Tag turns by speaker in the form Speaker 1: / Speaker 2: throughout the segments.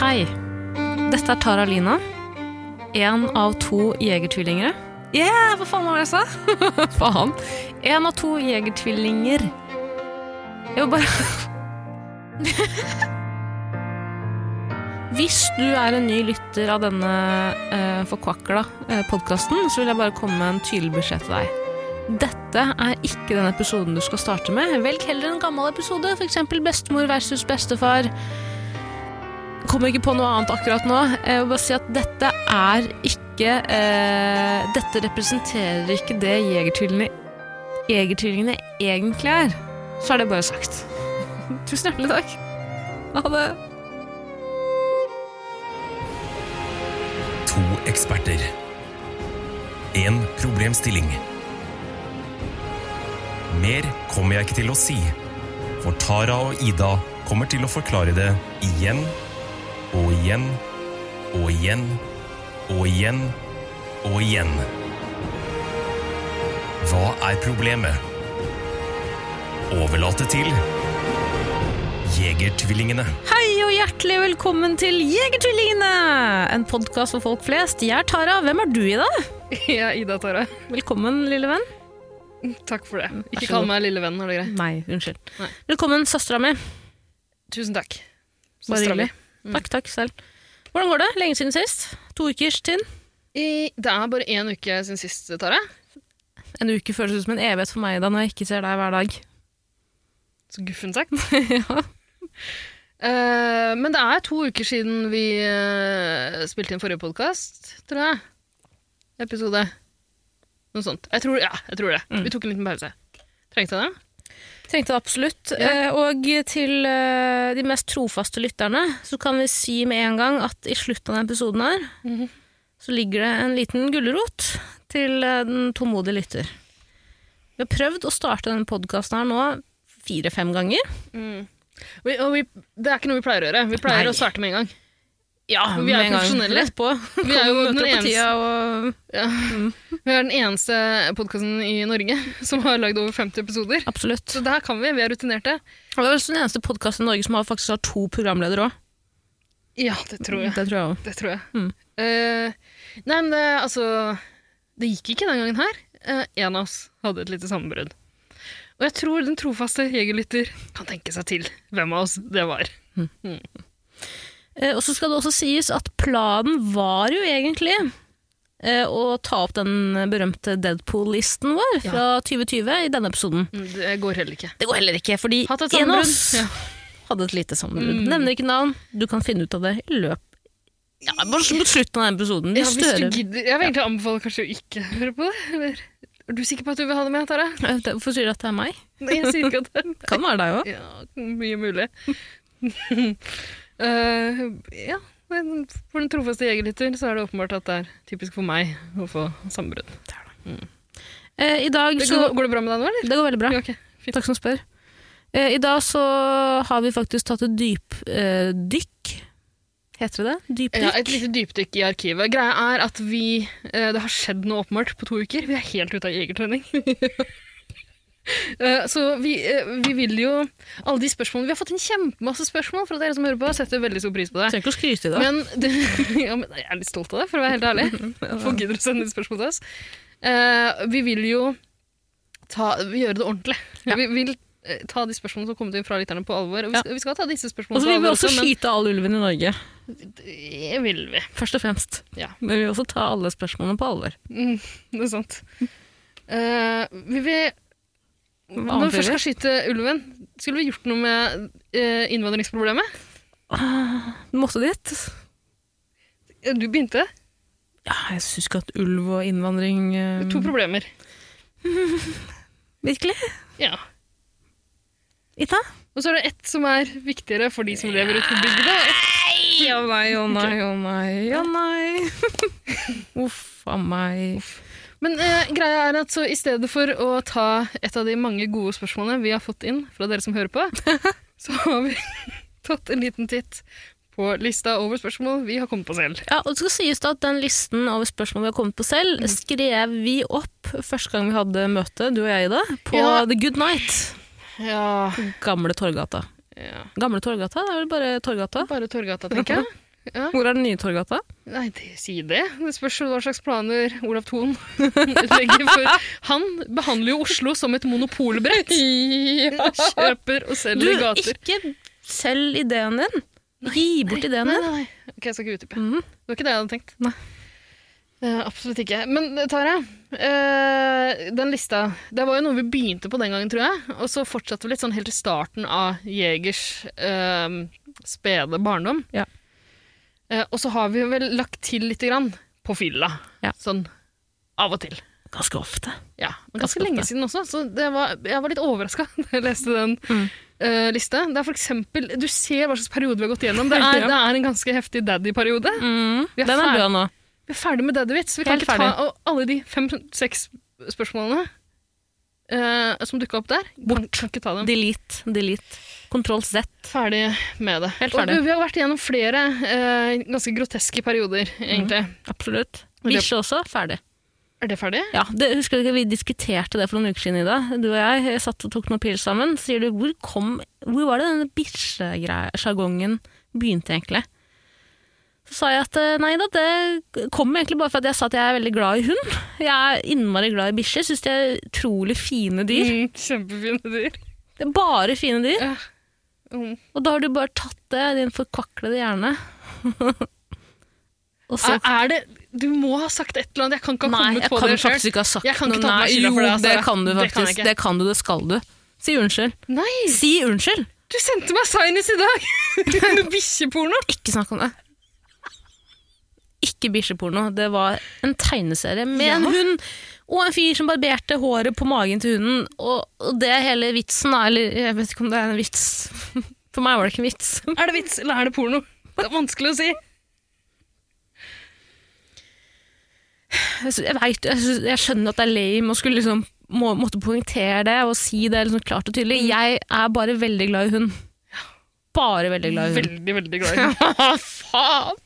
Speaker 1: Hei. Dette er Tara Lina. Én av to jegertvillingere. Yeah, hva faen var det jeg sa? faen. Én av to jegertvillinger. Jeg vil bare Hvis du er en ny lytter av denne eh, forkvakla eh, podkasten, så vil jeg bare komme med en tydelig beskjed til deg. Dette er ikke den episoden du skal starte med. Velg heller en gammel episode, f.eks. bestemor versus bestefar. Kommer ikke på noe annet akkurat nå. Eh, Jeg vil bare si at dette er ikke eh, Dette representerer ikke det jegertvillingene jegertvillingene egentlig er. Så er det bare sagt. Tusen hjertelig takk. Ha det.
Speaker 2: To eksperter. En problemstilling. Mer kommer jeg ikke til å si, for Tara og Ida kommer til å forklare det igjen og igjen og igjen og igjen og igjen. Hva er problemet? Overlate til Jegertvillingene.
Speaker 1: Hei og hjertelig velkommen til Jegertvillingene! En podkast for folk flest. Jeg er Tara. Hvem er du, Ida?
Speaker 3: Jeg er Ida Tara.
Speaker 1: Velkommen, lille venn.
Speaker 3: Takk for det.
Speaker 1: så
Speaker 3: Ikke kall
Speaker 1: god.
Speaker 3: meg lille venn, er det greit?
Speaker 1: Nei, unnskyld.
Speaker 3: Nei.
Speaker 1: Velkommen, søstera mi.
Speaker 3: Tusen takk.
Speaker 1: Bare
Speaker 3: Søstera mi.
Speaker 1: hyggelig. Takk, takk selv. Hvordan går det? Lenge siden sist? To ukers tid?
Speaker 3: I- Det er bare én uke siden sist, Tara.
Speaker 1: En uke føles ut som en evighet for meg, Ida, når jeg ikke ser deg hver dag.
Speaker 3: Så guffen sagt. Eh, men det er to uker siden vi eh, spilte inn forrige podkast, tror jeg. Episode. Noe sånt. Jeg tror, ja, jeg tror det.
Speaker 1: Mm.
Speaker 3: Vi tok en liten pause. Trengte jeg det?
Speaker 1: Tenkte det absolutt. Eh, Og til eh, de mest trofaste lytterne så kan vi si med en gang at i slutten av denne episoden her så ligger det en liten gulrot til eh, den tålmodige lytter. Vi har prøvd å starte denne podkasten her nå fire-fem ganger.
Speaker 3: Vi, og vi, det er ikke noe vi pleier å gjøre. Vi pleier
Speaker 1: Nei.
Speaker 3: å starte med en gang.
Speaker 1: Ja,
Speaker 3: vi er profesjonelle.
Speaker 1: Rett på.
Speaker 3: Vi er jo den eneste-
Speaker 1: og
Speaker 3: Ja. Vi er den eneste podkasten i Norge som har lagd over 50 episoder.
Speaker 1: Absolutt.
Speaker 3: Så det her kan vi. Vi er rutinerte.
Speaker 1: Og Det er også den eneste podkasten i Norge som har faktisk har to programledere òg.
Speaker 3: Ja, det tror jeg.
Speaker 1: Det tror jeg òg.
Speaker 3: Det tror jeg.
Speaker 1: Mm.
Speaker 3: Eh, nei, men det, altså Det gikk ikke den gangen her. Eh, en av oss hadde et lite sammenbrudd. Og jeg tror den trofaste jegerlytter kan tenke seg til hvem av oss det var.
Speaker 1: Eh, Og så skal det også sies at planen var jo egentlig eh, å ta opp den berømte Deadpool-listen vår fra 2020 i denne episoden.
Speaker 3: Mm, Det går heller ikke.
Speaker 1: Det går heller ikke, fordi
Speaker 3: Hatt et
Speaker 1: en av
Speaker 3: sammenbrudd.
Speaker 1: oss
Speaker 3: Ja.
Speaker 1: hadde et lite sammenbrudd.
Speaker 3: Mm.
Speaker 1: Nevner ikke navn, du kan finne ut av det i løp. Ja, bare mot slutten av denne episoden. Vi
Speaker 3: Ja, hvis du
Speaker 1: stører-
Speaker 3: gidder. Jeg vil egentlig anbefale kanskje å ikke høre på det. Eller? Er du sikker på at du vil ha det med, Tara?
Speaker 1: Eh, det- Hvorfor sier du at det er meg?
Speaker 3: Nei, jeg sier ikke at det
Speaker 1: Kan være deg òg.
Speaker 3: Ja, mye mulig. Eh, ja, men for den trofaste jegerlytter så er det åpenbart at det er typisk for meg å få sammenbrudd.
Speaker 1: Eh, I dag
Speaker 3: Det
Speaker 1: så
Speaker 3: Går, går det bra med deg nå, eller?
Speaker 1: Det går veldig bra.
Speaker 3: Ja, ok. Fint.
Speaker 1: Takk som spør. Eh, I dag så har vi faktisk tatt et dypdykk. Eh, dykk. Heter det det? Dypdykk?
Speaker 3: Ja, et lite dypdykk i arkivet. Greia er at vi eh, Det har skjedd noe åpenbart på to uker. Vi er helt ute av jegertrening. Eh, Så vi, eh, vi vil jo Alle de spørsmålene Vi har fått en kjempemasse spørsmål fra dere som hører på. Setter veldig stor pris på det.
Speaker 1: Trenger ikke å skryte i dag.
Speaker 3: Men, det, ja, men jeg er litt stolt av det, for å være helt ærlig. Folk gidder å sende spørsmål til oss. Eh, vi vil jo ta, vi gjøre det ordentlig. Vi vil eh, ta de spørsmålene som kommer inn fra lytterne, på alvor. Og vi
Speaker 1: Ja.
Speaker 3: skal, vi skal ta disse
Speaker 1: Og
Speaker 3: spørsmålene
Speaker 1: så vil vi
Speaker 3: på alvor
Speaker 1: også skyte all ulven i Norge.
Speaker 3: men det vil vi.
Speaker 1: Først og fremst.
Speaker 3: Ja.
Speaker 1: Men vi vil også ta alle spørsmålene på alvor.
Speaker 3: Mm, det er sant. Eh, vi vil
Speaker 1: annet
Speaker 3: Når
Speaker 1: vil
Speaker 3: vi først
Speaker 1: vi?
Speaker 3: skal skyte ulven, skulle vi gjort noe med eh, innvandringsproblemet?
Speaker 1: Ah, Måtte dit?
Speaker 3: Eh, Du begynte.
Speaker 1: Ja, jeg syns ikke at ulv og innvandring eh,
Speaker 3: To problemer.
Speaker 1: Virkelig?
Speaker 3: Ja.
Speaker 1: Ita?
Speaker 3: Og så er det ett som er viktigere for de som lever ute på bygda. og ett-
Speaker 1: Nei, å nei, å nei, å nei, å nei. Uff a meg.
Speaker 3: Men eh, greia er at så i stedet for å ta et av de mange gode spørsmålene vi har fått inn fra dere som hører på, så har vi tatt en liten titt på lista over spørsmål vi har kommet på selv.
Speaker 1: Ja, og det skal sies da at den listen over spørsmål vi har kommet på selv, skrev vi opp første gang vi hadde møte, du og jeg, Ida, på
Speaker 3: Ja.
Speaker 1: The Good Night.
Speaker 3: Ja,
Speaker 1: Gamle Torgata.
Speaker 3: ja.
Speaker 1: Gamle Torgata? Det er vel bare Torgata?
Speaker 3: Bare Torgata, tenker jeg. Ja.
Speaker 1: Hvor er den nye Torgata?
Speaker 3: Nei, det, si det. Det spørs jo hva slags planer Olav Thon legger for Han behandler jo Oslo som et monopolbrett. Kjøper og
Speaker 1: Du,
Speaker 3: selger i gater.
Speaker 1: ikke selg ideen din. Gi bort ideen
Speaker 3: Nei,
Speaker 1: din.
Speaker 3: nei, nei. Ok, jeg skal ikke utdype.
Speaker 1: Mhm.
Speaker 3: Det var ikke det jeg hadde tenkt.
Speaker 1: Nei.
Speaker 3: Eh, absolutt ikke. Men eh, Tara, eh, den lista Det var jo noe vi begynte på den gangen, tror jeg. Og så fortsatte vi litt sånn helt til starten av Jegers eh, spede barndom.
Speaker 1: Ja.
Speaker 3: Eh, og så har vi jo vel lagt til lite grann på fylla.
Speaker 1: Ja.
Speaker 3: Sånn av og til.
Speaker 1: Ganske ofte.
Speaker 3: Ja, men ganske
Speaker 1: Ganske
Speaker 3: lenge
Speaker 1: ofte.
Speaker 3: siden også, så det var, jeg var litt overraska da jeg leste den
Speaker 1: Mm.
Speaker 3: eh, lista. Det er for eksempel, Du ser hva slags periode vi har gått gjennom. Det er,
Speaker 1: Ja.
Speaker 3: det er en ganske heftig daddy-periode. Vi er
Speaker 1: Mm. Den er
Speaker 3: ferdig.
Speaker 1: død nå.
Speaker 3: Vi er ferdig med daddy-vits. Vi kan
Speaker 1: Helt
Speaker 3: ikke
Speaker 1: ferdig.
Speaker 3: ta og alle de fem-seks spørsmålene eh, som dukka opp der. Kan, kan ikke ta dem.
Speaker 1: Delete, delete. Kontroll Z.
Speaker 3: Ferdig med det.
Speaker 1: Helt
Speaker 3: Og
Speaker 1: ferdig.
Speaker 3: du, vi har vært gjennom flere eh, ganske groteske perioder,
Speaker 1: Mm.
Speaker 3: egentlig.
Speaker 1: Absolutt. Bikkje også. Ferdig.
Speaker 3: Er det ferdig?
Speaker 1: Ja, det, husker du ikke, Vi diskuterte det for noen uker siden, Ida. Du og jeg eh, satt og tok noen pils sammen. Så sier du, hvor, kom, hvor var det denne bikkjesjargongen begynte, egentlig? Så sa jeg at eh, nei da, det kom egentlig bare for at jeg sa at jeg er veldig glad i hund. Jeg er innmari glad i bikkjer. Syns de er utrolig fine dyr.
Speaker 3: Mm, kjempefine dyr.
Speaker 1: Det er bare fine dyr.
Speaker 3: Ja. Mm.
Speaker 1: Og da har du bare tatt det, din forkvaklede hjerne. og så
Speaker 3: Er, er det Du må ha sagt et eller annet. Jeg kan ikke ha
Speaker 1: Nei,
Speaker 3: kommet
Speaker 1: jeg
Speaker 3: på
Speaker 1: kan
Speaker 3: det
Speaker 1: jo
Speaker 3: selv.
Speaker 1: faktisk ikke ha sagt
Speaker 3: Jeg kan ikke
Speaker 1: noe.
Speaker 3: ta på meg
Speaker 1: Nei,
Speaker 3: skylda for det,
Speaker 1: jo,
Speaker 3: altså.
Speaker 1: det kan du
Speaker 3: Det kan jeg
Speaker 1: faktisk.
Speaker 3: ikke.
Speaker 1: Det kan du, det skal du. Si unnskyld.
Speaker 3: Nei!
Speaker 1: Si unnskyld!
Speaker 3: Du sendte meg signs i dag! Noe bikkjeporno.
Speaker 1: Ikke snakk om det. Ikke bikkjeporno. Det var en tegneserie med en
Speaker 3: Ja.
Speaker 1: hund og en fyr som barberte håret på magen til hunden. Og, og det er hele vitsen, da. Eller jeg vet ikke om det er en vits. For meg var det ikke en vits.
Speaker 3: Er det vits, eller er det porno? Det er vanskelig å si.
Speaker 1: Jeg, sy- jeg, vet, jeg, sy- jeg skjønner at det er lame å skulle liksom må, måtte poengtere det og si det liksom klart og tydelig. Jeg er bare veldig glad i hund. Bare veldig glad i hund.
Speaker 3: Veldig, veldig glad i den. Faen!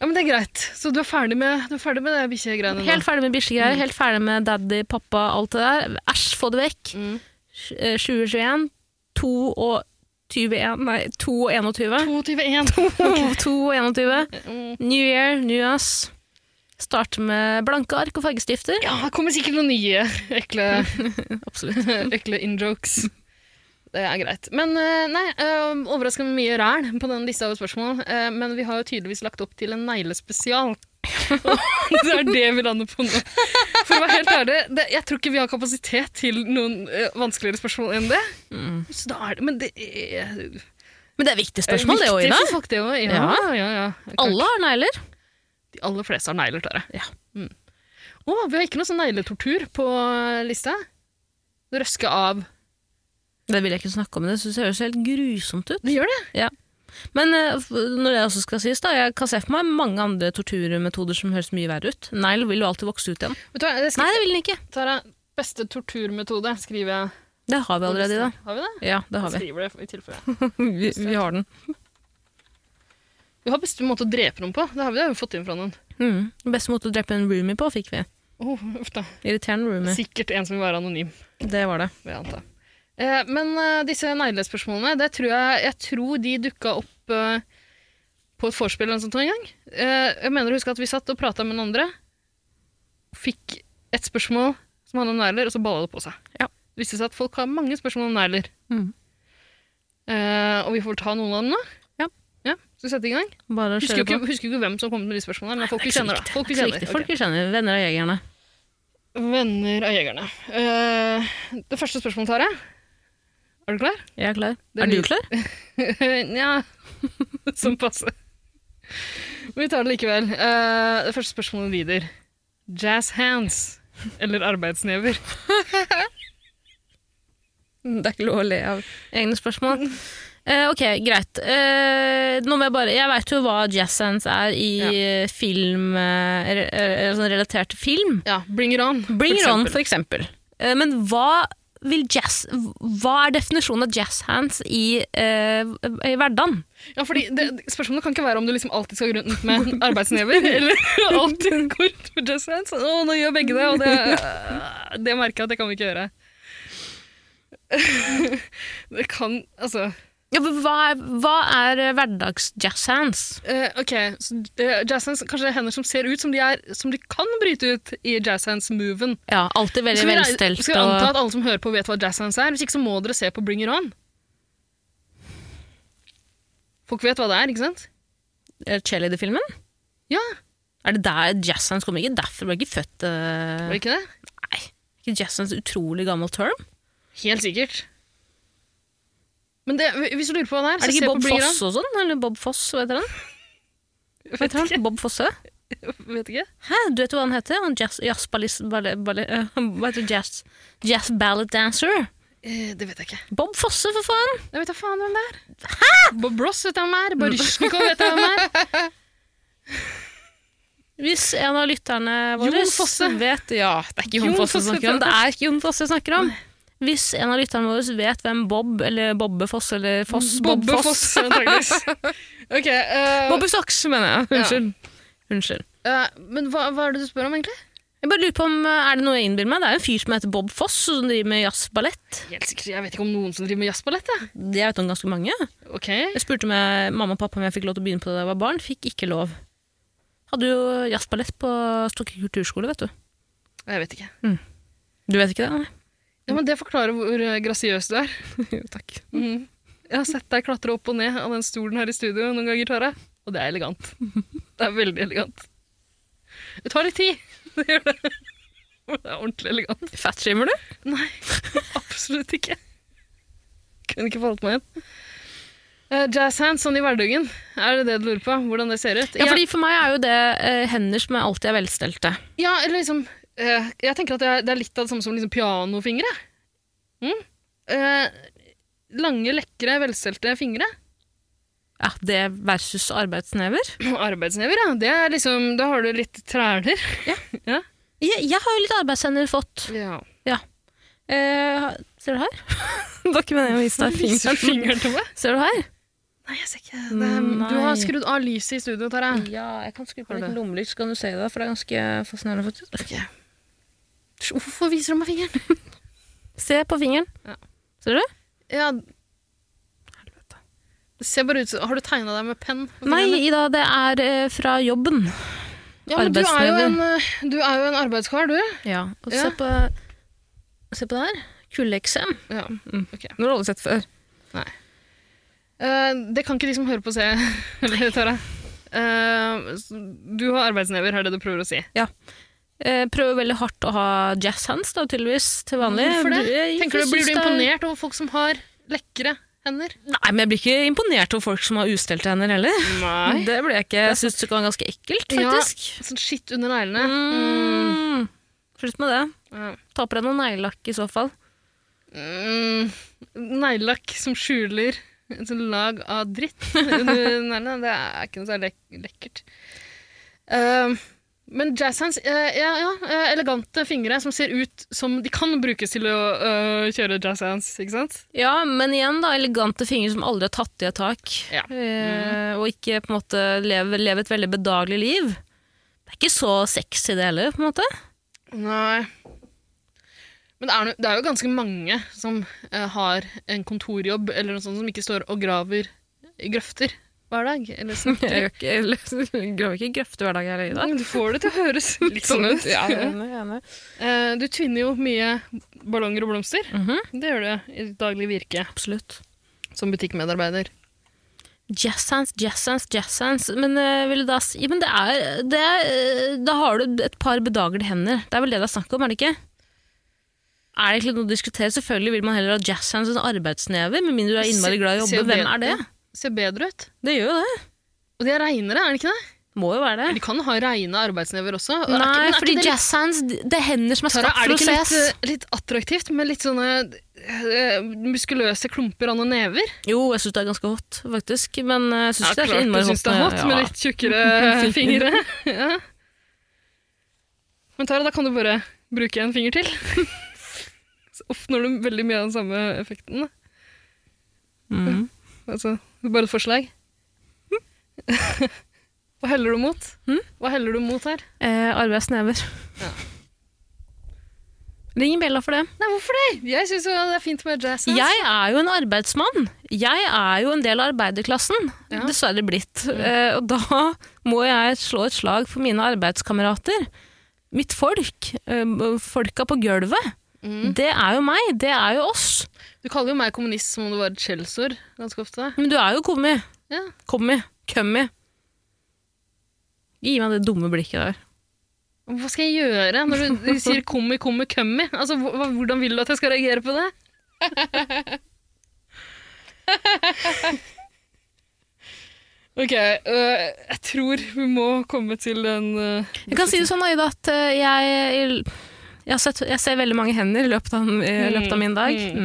Speaker 3: Ja, men det er greit. Så du er ferdig med, du er ferdig med det bikkjegreiene nå?
Speaker 1: Helt ferdig med bikkjegreier, helt ferdig med daddy, pappa, alt det der. Æsj, få det vekk.
Speaker 3: Mm.
Speaker 1: Sj- eh, 2021, 2 og 21, nei, 2 og 21.
Speaker 3: 22-1.
Speaker 1: 2 og 21.
Speaker 3: Mm.
Speaker 1: New year, new us. Starte med blanke ark og fargestifter.
Speaker 3: Ja, det kommer sikkert noen nye ekle,
Speaker 1: Absolutt.
Speaker 3: ekle in-jokes. Det er greit. Men eh, nei, eh, overraskende mye ræl på den lista av spørsmål. eh, Men vi har jo tydeligvis lagt opp til en neglespesial. Og det er det vi lander på nå. For å være helt ærlig, det, jeg tror ikke vi har kapasitet til noen eh, vanskeligere spørsmål enn det.
Speaker 1: Mm.
Speaker 3: Så da er det, men det er
Speaker 1: Men det er viktige spørsmål, det òg,
Speaker 3: Viktig
Speaker 1: Ida.
Speaker 3: for folk, det også, Ja,
Speaker 1: Ja.
Speaker 3: ja, ja. Klart.
Speaker 1: Alle har negler.
Speaker 3: De aller fleste har negler, Tare.
Speaker 1: Ja.
Speaker 3: Mm. Å, vi har ikke noe sånn negletortur på eh, lista. Røske av
Speaker 1: Det vil jeg ikke snakke om, det syns jeg høres helt grusomt ut.
Speaker 3: Det gjør det.
Speaker 1: Men eh, f- når det også skal sies, da, jeg kan se for meg mange andre torturmetoder som høres mye verre ut. Negl vil jo alltid vokse ut igjen.
Speaker 3: Vet du hva, det
Speaker 1: Nei,
Speaker 3: skriver,
Speaker 1: det vil den ikke.
Speaker 3: Tara, beste torturmetode, skriver jeg.
Speaker 1: Det har vi allerede i dag.
Speaker 3: Har vi det?
Speaker 1: Ja, det har
Speaker 3: Jeg
Speaker 1: vi.
Speaker 3: skriver det i tilfelle.
Speaker 1: vi. Vi har den.
Speaker 3: Vi har bestemt måte å drepe noen på. Det har vi det har vi fått inn fra noen.
Speaker 1: Mm. Beste måte å drepe en roomie på, fikk vi.
Speaker 3: Oh, uff da.
Speaker 1: Irriterende roomie.
Speaker 3: Sikkert en som vil være anonym.
Speaker 1: Det var det.
Speaker 3: vil jeg anta. Eh, men eh, disse neglespørsmålene, det tror jeg, jeg tror de dukka opp eh, på et vorspiel eller noe sånt en gang. Eh, jeg mener å huske at vi satt og prata med noen andre, fikk et spørsmål som handla om negler, og så balla det på seg.
Speaker 1: Ja.
Speaker 3: Det viste seg at folk har mange spørsmål om negler.
Speaker 1: Mm.
Speaker 3: Eh, og vi får ta noen av dem nå.
Speaker 1: Ja.
Speaker 3: Skal vi sette i gang?
Speaker 1: Bare å
Speaker 3: Husker
Speaker 1: kjøre
Speaker 3: jo ikke,
Speaker 1: på.
Speaker 3: husker jo ikke hvem som kom med de spørsmålene, men folk vi
Speaker 1: Det er ikke så
Speaker 3: kjenner. da.
Speaker 1: viktig.
Speaker 3: Folk vi
Speaker 1: Det er ikke så viktig.
Speaker 3: kjenner. Ok.
Speaker 1: Folk vi kjenner. Venner av jegerne.
Speaker 3: Venner av jegerne. Eh, det første spørsmålet, Tare. Er du klar?
Speaker 1: Jeg er klar.
Speaker 3: Det er
Speaker 1: Er du
Speaker 3: mye-
Speaker 1: klar?
Speaker 3: Nja Som passe. Men vi tar det likevel. Eh, det første spørsmålet lyder Jazz hands eller arbeidsnever?
Speaker 1: Det er ikke lov å le av egne spørsmål. Eh, ok, greit. Eh, nå må jeg bare Jeg veit jo hva jazz hands er i
Speaker 3: Ja.
Speaker 1: eh, film eh, re, eh, sånn relatert til film.
Speaker 3: Ja, bring it on.
Speaker 1: Bring it on,
Speaker 3: eksempel.
Speaker 1: for eksempel. Eh, men hva vil jazz Hva er definisjonen av jazz hands i, eh, i hverdagen?
Speaker 3: Ja, fordi det, spørsmålet kan ikke være om du liksom alltid skal gå rundt med arbeidsnever, eller alltid gå rundt med jazz hands. Å, nå gjør begge det, og det, det merker jeg at det kan vi ikke gjøre. Det kan, altså
Speaker 1: Ja, men hva er, hva er eh, hverdags-jazzhands?
Speaker 3: Eh, ok, så eh, jazzhands, kanskje det er hender som ser ut som de, er, som de kan bryte ut i jazzhands-moven.
Speaker 1: Ja, alltid veldig
Speaker 3: Skal vi regne-
Speaker 1: velstelt.
Speaker 3: Skal vi anta
Speaker 1: og-
Speaker 3: at alle som hører på vet hva jazzhands er? Hvis ikke så må dere se på Bring It On. Folk vet hva det er, ikke sant?
Speaker 1: Eh, Cheerleader-filmen?
Speaker 3: Ja,
Speaker 1: Er det der jazzhands kommer ikke derfra? Ble ikke født eh,
Speaker 3: var det ikke det?
Speaker 1: Nei. Ikke jazzhands utrolig gammel term?
Speaker 3: Helt sikkert. Men det, hvis du lurer på hva det er,
Speaker 1: Er det
Speaker 3: så se
Speaker 1: ikke
Speaker 3: på
Speaker 1: Bob
Speaker 3: Bring It
Speaker 1: Foss og sånn? Eller Bob Foss, hva heter han?
Speaker 3: On.
Speaker 1: Vet
Speaker 3: Vet
Speaker 1: han? Bob Fosse?
Speaker 3: ikke. Vet ikke.
Speaker 1: Hæ, du vet hva han heter? Han jazz, jazzballist... Balle, balle, eh, hva heter det? jazz, jazz ballad dancer?
Speaker 3: Eh, det vet jeg ikke.
Speaker 1: Bob Fosse, for faen!
Speaker 3: Jeg vet da faen hvem det er. Bob Ross vet jeg hvem er. Barysjnikov vet jeg hvem er.
Speaker 1: Hvis en av lytterne våre
Speaker 3: Jon Fosse.
Speaker 1: vet Ja, det er ikke
Speaker 3: Jon
Speaker 1: Jon Fosse jeg
Speaker 3: Fosse,
Speaker 1: snakker om. Det er ikke Jon Fosse jeg snakker om. Hvis en av lytterne våre vet hvem Bob eller Bobbe Foss eller Foss Bob
Speaker 3: Bobbe
Speaker 1: Foss
Speaker 3: Foss, antageligvis. Ok, eh,
Speaker 1: Bobbe Socks, mener jeg. Unnskyld. Unnskyld.
Speaker 3: eh, men hva, hva er det du spør om, egentlig?
Speaker 1: Jeg bare lurer på om, eh, Er det noe jeg innbiller meg? Det er jo en fyr som heter Bob Foss, som driver med jazzballett.
Speaker 3: Helt sikkert, Jeg vet ikke om noen som driver med jazzballett. jeg.
Speaker 1: Jeg vet om ganske mange.
Speaker 3: Ok.
Speaker 1: Jeg spurte med mamma og pappa om jeg fikk lov til å begynne på det da jeg var barn. Fikk ikke lov. Hadde jo jazzballett på Stokke kulturskole, vet du.
Speaker 3: Jeg vet ikke.
Speaker 1: Du vet ikke det?
Speaker 3: Ja, men Det forklarer hvor eh, grasiøs du er.
Speaker 1: Nei. Takk.
Speaker 3: Mhm. Jeg har sett deg klatre opp og ned av den stolen her i studio noen ganger, Tara. Og det er elegant. Det er veldig elegant. Det tar litt tid. Det gjør det. Men Det er ordentlig elegant.
Speaker 1: Fatshamer du?
Speaker 3: Nei, absolutt ikke. Kunne ikke forholdt meg igjen. Eh, jazz hands sånn i hverdagen, er det det du lurer på? Hvordan det ser ut?
Speaker 1: Ja, fordi for meg er jo det eh, hender som alltid er velstelte.
Speaker 3: Ja, eller liksom eh, Jeg tenker at det er, det er litt av det samme som liksom pianofingre. Mm. Eh, lange, lekre, velstelte fingre.
Speaker 1: Ja, det versus arbeidsnever.
Speaker 3: Arbeidsnever, ja. Det er liksom, da har du litt træler.
Speaker 1: Jeg, jeg har jo litt arbeidshender fått.
Speaker 3: Ja.
Speaker 1: Eh, ser du her? det var ikke meningen å vise deg
Speaker 3: Viser du
Speaker 1: fingeren.
Speaker 3: fingeren til meg?
Speaker 1: Ser du her?
Speaker 3: Nei, jeg ser ikke. Det er, Mm, du
Speaker 1: Nei.
Speaker 3: har skrudd av lyset i studio, Tara.
Speaker 1: Ja, jeg kan skru
Speaker 3: Har du?
Speaker 1: lommelykt, så kan Ah. du se det, for det er ganske fascinerende. faktisk.
Speaker 3: Hvorfor viser du meg fingeren?
Speaker 1: Se på fingeren.
Speaker 3: Ja.
Speaker 1: Ser du?
Speaker 3: Ja. Det ser bare ut som Har du tegna deg med penn? på
Speaker 1: Nei,
Speaker 3: fingrene?
Speaker 1: Ida, det er eh, fra jobben.
Speaker 3: ja, men du, er jo
Speaker 1: arbeidsnever.
Speaker 3: en, eh, du er jo en arbeidskar, du.
Speaker 1: Ja, og
Speaker 3: Ja.
Speaker 1: se på Se på det her. Kulleeksem.
Speaker 3: Ja.
Speaker 1: Den har du aldri sett før.
Speaker 3: Eh, det kan ikke de som hører på, se. eller, Tara. Eh, s- du har arbeidsnever, er det du prøver å si.
Speaker 1: Eh, prøver veldig hardt å ha jazz hands, da, tydeligvis, til vanlig.
Speaker 3: Hvorfor Mm, det?
Speaker 1: Jeg- jeg
Speaker 3: Tenker du, Blir du
Speaker 1: synes det er-
Speaker 3: imponert over folk som har lekre hender?
Speaker 1: Nei, men jeg blir ikke imponert over folk som har ustelte hender heller.
Speaker 3: Nei.
Speaker 1: Det blir jeg ikke. Jeg syns det kan være ganske ekkelt,
Speaker 3: Ja.
Speaker 1: faktisk.
Speaker 3: Sånn skitt under neglene. Mm.
Speaker 1: Mm. Slutt med det.
Speaker 3: Ja.
Speaker 1: Ta på deg noe neglelakk i så fall.
Speaker 3: Mm, Neglelakk som skjuler en sånn lag av dritt under neglene. Det er ikke noe særlig lek lekkert. Ehm, men jazz hands eh, ja, ja, eh, elegante fingre som ser ut som de kan brukes til å eh, kjøre jazz hands, ikke sant?
Speaker 1: Ja, men igjen da, elegante fingre som aldri har tatt i et tak.
Speaker 3: Ja. Mm.
Speaker 1: Eh, og ikke på en måte leve, leve et veldig bedagelig liv. Det er ikke så sexy det heller, på en måte.
Speaker 3: Nei. Men det er, no, det er jo ganske mange som eh, har en kontorjobb eller noe sånt som ikke står og graver i grøfter hver dag. Eller sånn. snekrer.
Speaker 1: Jeg graver ikke grøfte hver dag her i
Speaker 3: Du får det til å høres litt sånn ut. Eh, Du tvinner jo mye ballonger og blomster.
Speaker 1: Mhm.
Speaker 3: Det gjør du i ditt daglige virke
Speaker 1: Absolutt.
Speaker 3: som butikkmedarbeider.
Speaker 1: Jazz hands, jazz hands, jazz hands. Men, eh, vil du da, si- ja, men det er, det er eh, Da har du et par bedagelige hender. Det er vel det det er snakk om, er det ikke? Er det egentlig noe å diskutere? Selvfølgelig vil man heller ha jazz hands enn arbeidsnever, med mindre du er innmari glad i å
Speaker 3: Se- ser
Speaker 1: jobbe. Hvem
Speaker 3: bedre-
Speaker 1: er det?
Speaker 3: Ser bedre ut.
Speaker 1: Det gjør jo det.
Speaker 3: Og de er reinere, er det ikke det?
Speaker 1: Må jo være
Speaker 3: De
Speaker 1: det.
Speaker 3: kan ha reine arbeidsnever også. Og er ikke- men
Speaker 1: Nei,
Speaker 3: er
Speaker 1: fordi
Speaker 3: ikke det litt-
Speaker 1: jazz hands, det er hender som er
Speaker 3: Tara,
Speaker 1: skapt
Speaker 3: er
Speaker 1: for
Speaker 3: det
Speaker 1: å
Speaker 3: ikke
Speaker 1: ses.
Speaker 3: litt, eh, litt attraktivt med litt sånne eh, muskuløse klumper av noen never?
Speaker 1: Jo, jeg syns det er ganske hot, faktisk. Men eh, jeg syns ikke det er så
Speaker 3: du
Speaker 1: innmari
Speaker 3: syns
Speaker 1: hot.
Speaker 3: det er hot med
Speaker 1: ja.
Speaker 3: litt tjukkere fingre. ja. Men Tara, da kan du bare bruke en finger til. Så oppnår du veldig mye av den samme effekten. da.
Speaker 1: Mm.
Speaker 3: Altså, det er bare et forslag. Hm? Hva heller du Hm? mot? Hva heller du mot her?
Speaker 1: Eh, arbeidsnever. Ring bjella for det.
Speaker 3: Nei, hvorfor det? Jeg syns jo det er fint med jazz. ass.
Speaker 1: Jeg er jo en arbeidsmann. Jeg er jo en del av arbeiderklassen.
Speaker 3: Ja.
Speaker 1: Dessverre blitt. Eh, og da må jeg slå et slag for mine arbeidskamerater. Mitt folk. eh, folka på gulvet.
Speaker 3: Mm.
Speaker 1: Det er jo meg. Det er jo oss.
Speaker 3: Du kaller jo meg kommunist som om det var et skjellsord ganske ofte.
Speaker 1: Men du er jo kommi.
Speaker 3: Ja.
Speaker 1: Kommi. Kømmi. Gi meg det dumme blikket der.
Speaker 3: Hva skal jeg gjøre når du du sier 'kommi, kommi, kømmi'? Altså, hva, hvordan vil du at jeg skal reagere på det? ok, øh, jeg tror vi må komme til en øh,
Speaker 1: Jeg kan si det sånn, Aida, at eh, jeg, jeg, har sett, jeg ser veldig mange hender i løpet av, i løpet av min dag.
Speaker 3: Mm,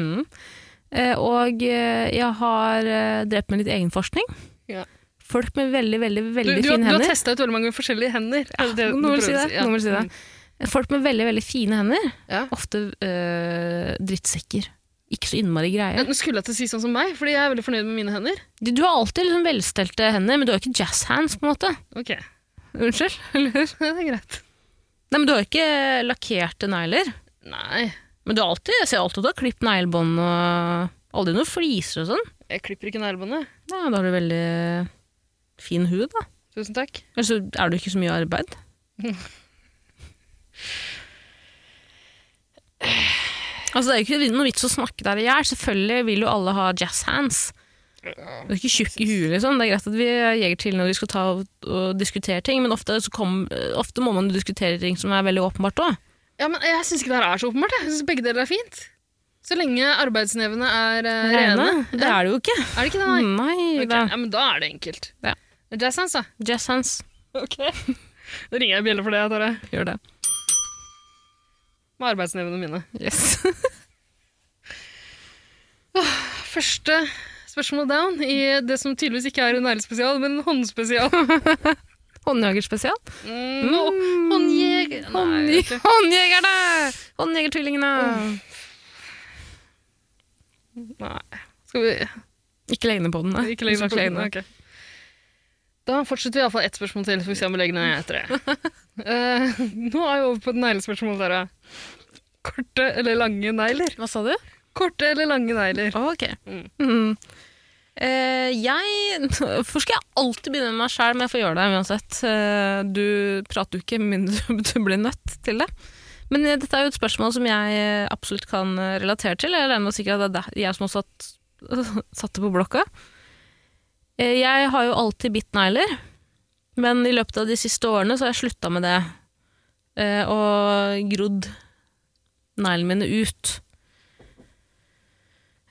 Speaker 1: Mm. Eh, Og eh, jeg har eh, drept med litt egenforskning.
Speaker 3: Ja.
Speaker 1: Folk med veldig, veldig,
Speaker 3: du,
Speaker 1: veldig
Speaker 3: du, har-
Speaker 1: fine
Speaker 3: du har
Speaker 1: hender.
Speaker 3: testa ut veldig mange forskjellige hender. Er det det du
Speaker 1: noen vil si
Speaker 3: prøver å
Speaker 1: det, noen vil si det. Folk med veldig, veldig fine hender.
Speaker 3: Ja.
Speaker 1: Ofte eh, drittsekker. Ikke så innmari
Speaker 3: Ja,
Speaker 1: greie.
Speaker 3: Nå skulle jeg til å si sånn som meg, fordi jeg er veldig fornøyd med mine hender.
Speaker 1: Du, du har alltid liksom velstelte hender, men du har ikke jazz hands, på en måte.
Speaker 3: Ok,
Speaker 1: Unnskyld?
Speaker 3: eller? det er greit.
Speaker 1: Nei, men du har ikke lakkerte negler.
Speaker 3: Nei,
Speaker 1: Men du har alltid, jeg ser alltid at du har klippet neglebånd og aldri noen fliser og sånn.
Speaker 3: jeg klipper ikke neglebåndet.
Speaker 1: Ja, da har du veldig fin hud, da.
Speaker 3: Tusen takk.
Speaker 1: Ellers så er du ikke så mye arbeid. Altså, det er jo ikke noe vits å snakke der i hjel. Selvfølgelig vil jo alle ha jazz hands. Du er ikke tjukk i huet, liksom. Det er greit at vi jeger til når vi skal ta og, og diskutere ting, men ofte, så kom, ofte må man jo diskutere ting som er veldig åpenbart òg.
Speaker 3: Ja, men jeg syns ikke det her er så åpenbart. Jeg synes begge deler er fint. Så lenge arbeidsnevene er eh, rene.
Speaker 1: Det er det jo ikke.
Speaker 3: Er det ikke det?
Speaker 1: Nei,
Speaker 3: Nei. Ok,
Speaker 1: da.
Speaker 3: Ja, men da er det enkelt.
Speaker 1: Ja.
Speaker 3: Det er Jazz hands, da.
Speaker 1: Jazz hands.
Speaker 3: Ok. Da ringer jeg bjelle for det, Tare.
Speaker 1: Gjør det.
Speaker 3: Med arbeidsnevene mine.
Speaker 1: Yes.
Speaker 3: Første spørsmål down i det som tydeligvis ikke er en neglespesial, men en håndspesial.
Speaker 1: Håndjegerspesial.
Speaker 3: Mm, og Håndjeger... Nei, jeg vet ikke.
Speaker 1: Håndjegerne! Håndjegertvillingene!
Speaker 3: Nei. Skal vi
Speaker 1: Ikke legg ned på den. Nei.
Speaker 3: Ikke legge
Speaker 1: Du skal
Speaker 3: ned på den?
Speaker 1: ned.
Speaker 3: Ok. Da fortsetter vi iallfall ett spørsmål til, så får vi se om vi legger ned etter det. Eh, nå er vi over på et neglespørsmål, Tara. Korte eller lange negler?
Speaker 1: Hva sa du?
Speaker 3: Korte eller lange negler?
Speaker 1: Å, ok.
Speaker 3: Mm.
Speaker 1: Mm. Eh, jeg Hvorfor skal jeg alltid begynne med meg sjæl, men jeg får gjøre det uansett. Eh, du prater jo ikke, med mindre du blir nødt til det. Men eh, dette er jo et spørsmål som jeg eh, absolutt kan eh, relatere til. Jeg regner med sikkert at det er der- jeg som har satt, satt det på blokka. Eh, jeg har jo alltid bitt negler, men i løpet av de siste årene så har jeg slutta med det. Eh, og grodd neglene mine ut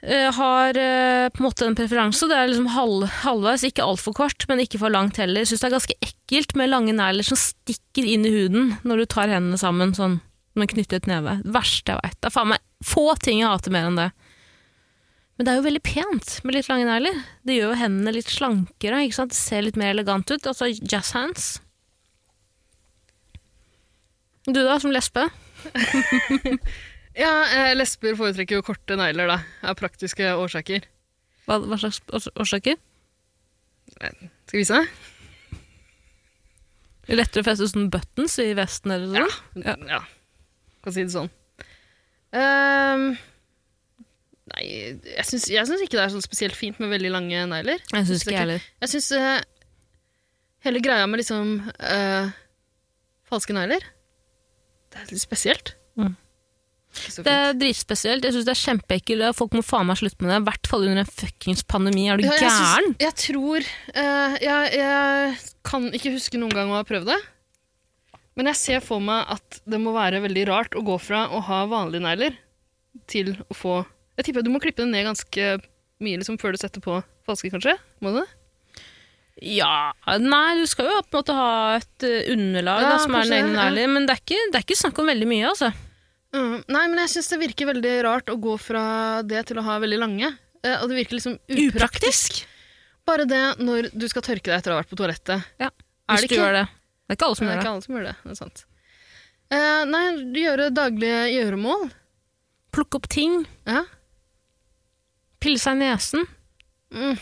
Speaker 1: eh, har eh, på en måte en preferanse. Det er liksom halv, halvveis, ikke altfor kort, men ikke for langt heller. Syns det er ganske ekkelt med lange negler som stikker inn i huden når du tar hendene sammen sånn med en knyttet neve. Det verste jeg veit. Det er faen meg få ting jeg hater mer enn det. Men det er jo veldig pent med litt lange negler. Det gjør jo hendene litt slankere. ikke sant? Det ser litt mer elegant ut. Altså jazz hands. Du da, som lesbe?
Speaker 3: Ja, eh, lesber foretrekker jo korte negler, da, av praktiske årsaker.
Speaker 1: Hva, hva slags års- årsaker?
Speaker 3: Skal vi vise deg?
Speaker 1: Lettere å feste sånn buttons i vesten eller sånn? noe sånt?
Speaker 3: Ja. ja. Kan si det sånn. Ehm, nei, jeg syns, jeg syns ikke det er sånn spesielt fint med veldig lange negler.
Speaker 1: Jeg syns ikke jeg
Speaker 3: Sikkert.
Speaker 1: heller.
Speaker 3: Jeg syns eh, hele greia med liksom eh, falske negler Det er litt spesielt.
Speaker 1: Mm.
Speaker 3: Ikke så
Speaker 1: Det
Speaker 3: fint.
Speaker 1: er dritspesielt. Jeg syns det er kjempeekkelt. og Folk må faen meg slutte med det. I hvert fall under en fuckings pandemi. Er du
Speaker 3: Ja, jeg syns-
Speaker 1: gæren?
Speaker 3: Jeg, tror eh, jeg, jeg kan ikke huske noen gang å ha prøvd det. Men jeg ser for meg at det må være veldig rart å gå fra å ha vanlige negler til å få Jeg tipper at du må klippe det ned ganske mye liksom, før du setter på falske, kanskje? Må du det?
Speaker 1: Ja Nei, du skal jo på en måte ha et eh, underlag
Speaker 3: Ja,
Speaker 1: da, som er
Speaker 3: kanskje,
Speaker 1: nøye
Speaker 3: ja.
Speaker 1: nærlig, men det er, ikke, det er ikke snakk om veldig mye, altså.
Speaker 3: Mm, nei, men jeg syns det virker veldig rart å gå fra det til å ha veldig lange. Eh, og det virker liksom upraktisk.
Speaker 1: Upraktisk.
Speaker 3: Bare det når du skal tørke deg etter å ha vært på toalettet.
Speaker 1: Ja.
Speaker 3: Er
Speaker 1: Hvis
Speaker 3: det
Speaker 1: du
Speaker 3: ikke?
Speaker 1: gjør det. Det er ikke alle
Speaker 3: Det
Speaker 1: som
Speaker 3: Sånn er
Speaker 1: gjør det.
Speaker 3: ikke alle som gjør det. det er sant. Eh, nei, gjøre daglige gjøremål.
Speaker 1: Plukke opp ting.
Speaker 3: Ja.
Speaker 1: Pille seg i nesen.
Speaker 3: Mm.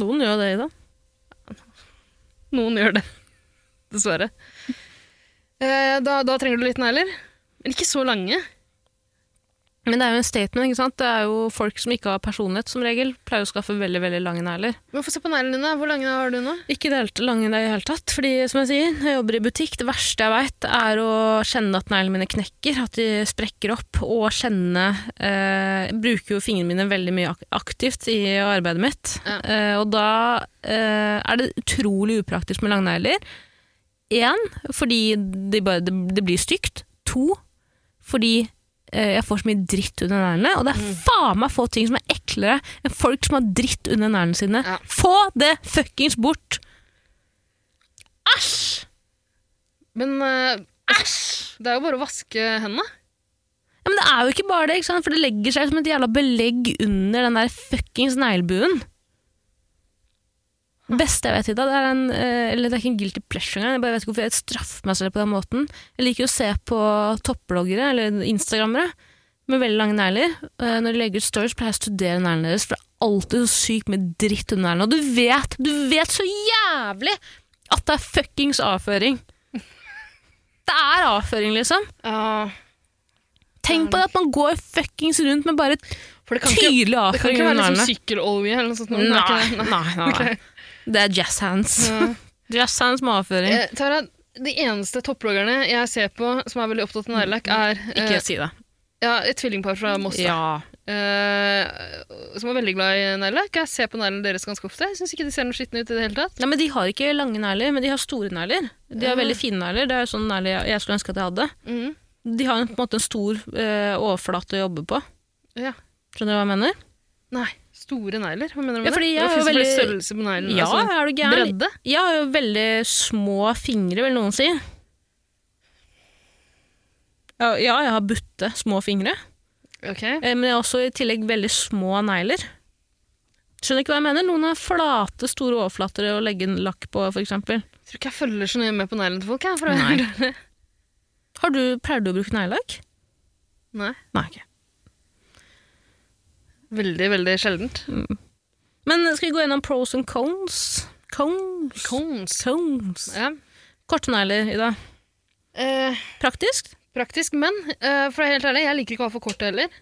Speaker 1: Noen gjør det i dag.
Speaker 3: Noen gjør det. Dessverre. Eh, da, da trenger du litt negler. Men ikke så lange.
Speaker 1: Men det er jo en statement, ikke sant? Det er jo folk som ikke har personlighet som regel, pleier å skaffe veldig, veldig lange negler.
Speaker 3: Men Få se på neglene dine. Hvor lange har du nå?
Speaker 1: Ikke det helt lange i det hele tatt, fordi som jeg sier, jeg jobber i butikk, det verste jeg veit er å kjenne at neglene mine knekker, at de sprekker opp, og kjenne eh, Jeg bruker jo fingrene mine veldig mye ak aktivt i arbeidet mitt,
Speaker 3: Ja.
Speaker 1: eh, og da eh, er det utrolig upraktisk med lange negler. Én, fordi det, bare, det, det blir stygt. To, fordi eh, jeg får så mye dritt under neglene, og det er faen meg få ting som er eklere enn folk som har dritt under neglene sine.
Speaker 3: Ja.
Speaker 1: Få det fuckings bort! Æsj!
Speaker 3: Men eh,
Speaker 1: Æsj!
Speaker 3: det er jo bare å vaske hendene.
Speaker 1: Ja, men det er jo ikke bare det, ikke sant? for det legger seg som et jævla belegg under den der fuckings neglebuen. Det beste jeg vet, Ida, det er en, eh, eller det er ikke en guilty pleasure engang, jeg bare vet ikke hvorfor jeg straffer meg selv på den måten. Jeg liker jo å se på toppbloggere, eller instagrammere, med veldig lange negler. Eh, Når de legger ut stories, pleier jeg å studere neglene deres, for det er alltid så sykt med dritt under neglene. Og du vet, du vet så jævlig at det er fuckings avføring. Det er avføring, liksom.
Speaker 3: Ja,
Speaker 1: Tenk på det at man går fuckings rundt med bare
Speaker 3: for det kan ikke,
Speaker 1: tydelig
Speaker 3: det kan
Speaker 1: avføring
Speaker 3: ikke
Speaker 1: under
Speaker 3: være liksom
Speaker 1: neglene.
Speaker 3: sykkelolje eller noe sånt. nå. Det er
Speaker 1: Nei,
Speaker 3: ikke det.
Speaker 1: nei, nei.
Speaker 3: Ok.
Speaker 1: Det er jazz hands.
Speaker 3: Ja.
Speaker 1: Jazz hands med avføring.
Speaker 3: Eh, Tara, de eneste topploggerne jeg ser på som er veldig opptatt av neglelakk, er eh,
Speaker 1: Mm, Ikke si det.
Speaker 3: ja, et tvillingpar fra Moss. da.
Speaker 1: Ja.
Speaker 3: Eh, som er veldig glad i neglelakk. Jeg ser på neglene deres ganske ofte. Jeg syns ikke de ser noe skitne ut i det hele tatt.
Speaker 1: Nei, men De har ikke lange negler, men de har store negler. De har
Speaker 3: Ja.
Speaker 1: veldig fine negler. Det er jo sånn negler jeg- jeg skulle ønske at jeg hadde.
Speaker 3: Mhm.
Speaker 1: De har en, på en måte en stor eh, overflate å jobbe på.
Speaker 3: Ja.
Speaker 1: Skjønner du hva jeg mener?
Speaker 3: Nei, store negler? Hva
Speaker 1: Ja,
Speaker 3: mener du med
Speaker 1: fordi
Speaker 3: det?
Speaker 1: jeg er jo
Speaker 3: Det finnes vel
Speaker 1: veldig-
Speaker 3: størrelse på neglene?
Speaker 1: Ja,
Speaker 3: altså,
Speaker 1: er du gæren?
Speaker 3: bredde?
Speaker 1: Jeg har jo veldig små fingre, vil noen si. Ja, ja, jeg har butte små fingre.
Speaker 3: Ok.
Speaker 1: Eh, Men jeg har også i tillegg veldig små negler. Skjønner ikke hva jeg mener? Noen har flate, store overflater å legge en lakk på, f.eks.
Speaker 3: Jeg tror ikke jeg følger så nøye med på neglene til folk. Jeg, for å
Speaker 1: Nei.
Speaker 3: være helt ærlig.
Speaker 1: Har du, pleier du å bruke neglelakk?
Speaker 3: Nei.
Speaker 1: Nei, ok.
Speaker 3: Veldig, veldig sjeldent.
Speaker 1: Men skal vi gå gjennom pros and cones? Cones?
Speaker 3: Cones.
Speaker 1: Cones.
Speaker 3: Ja.
Speaker 1: Korte negler, Ida.
Speaker 3: Eh,
Speaker 1: Praktisk?
Speaker 3: praktisk, men eh, for å være helt ærlig, jeg liker ikke å ha for kort heller.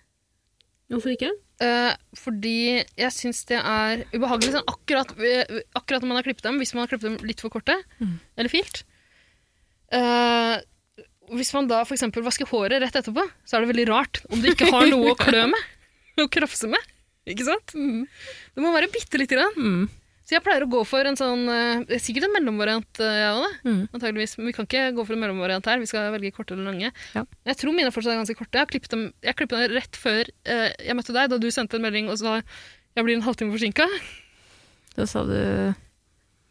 Speaker 1: Hvorfor ikke?
Speaker 3: Eh, fordi jeg syns det er ubehagelig sånn akkurat, eh, akkurat når man har klippet dem, hvis man har klippet dem litt for korte,
Speaker 1: Mm.
Speaker 3: eller filt. Eh, hvis man da f.eks. vasker håret rett etterpå, så er det veldig rart om du ikke har noe å klø med. Og krafse med. Ikke sant? Det må være bitte lite grann.
Speaker 1: Mm.
Speaker 3: Så jeg pleier å gå for en sånn eh, det er Sikkert en mellomvariant, eh, jeg òg,
Speaker 1: Mm.
Speaker 3: antageligvis. Men vi kan ikke gå for en mellomvariant her. Vi skal velge korte eller lange.
Speaker 1: Ja.
Speaker 3: Jeg tror mine fortsatt er ganske korte. Jeg klippet dem, jeg klippet dem rett før eh, jeg møtte deg, da du sendte en melding og sa jeg blir en halvtime forsinka.
Speaker 1: Da sa du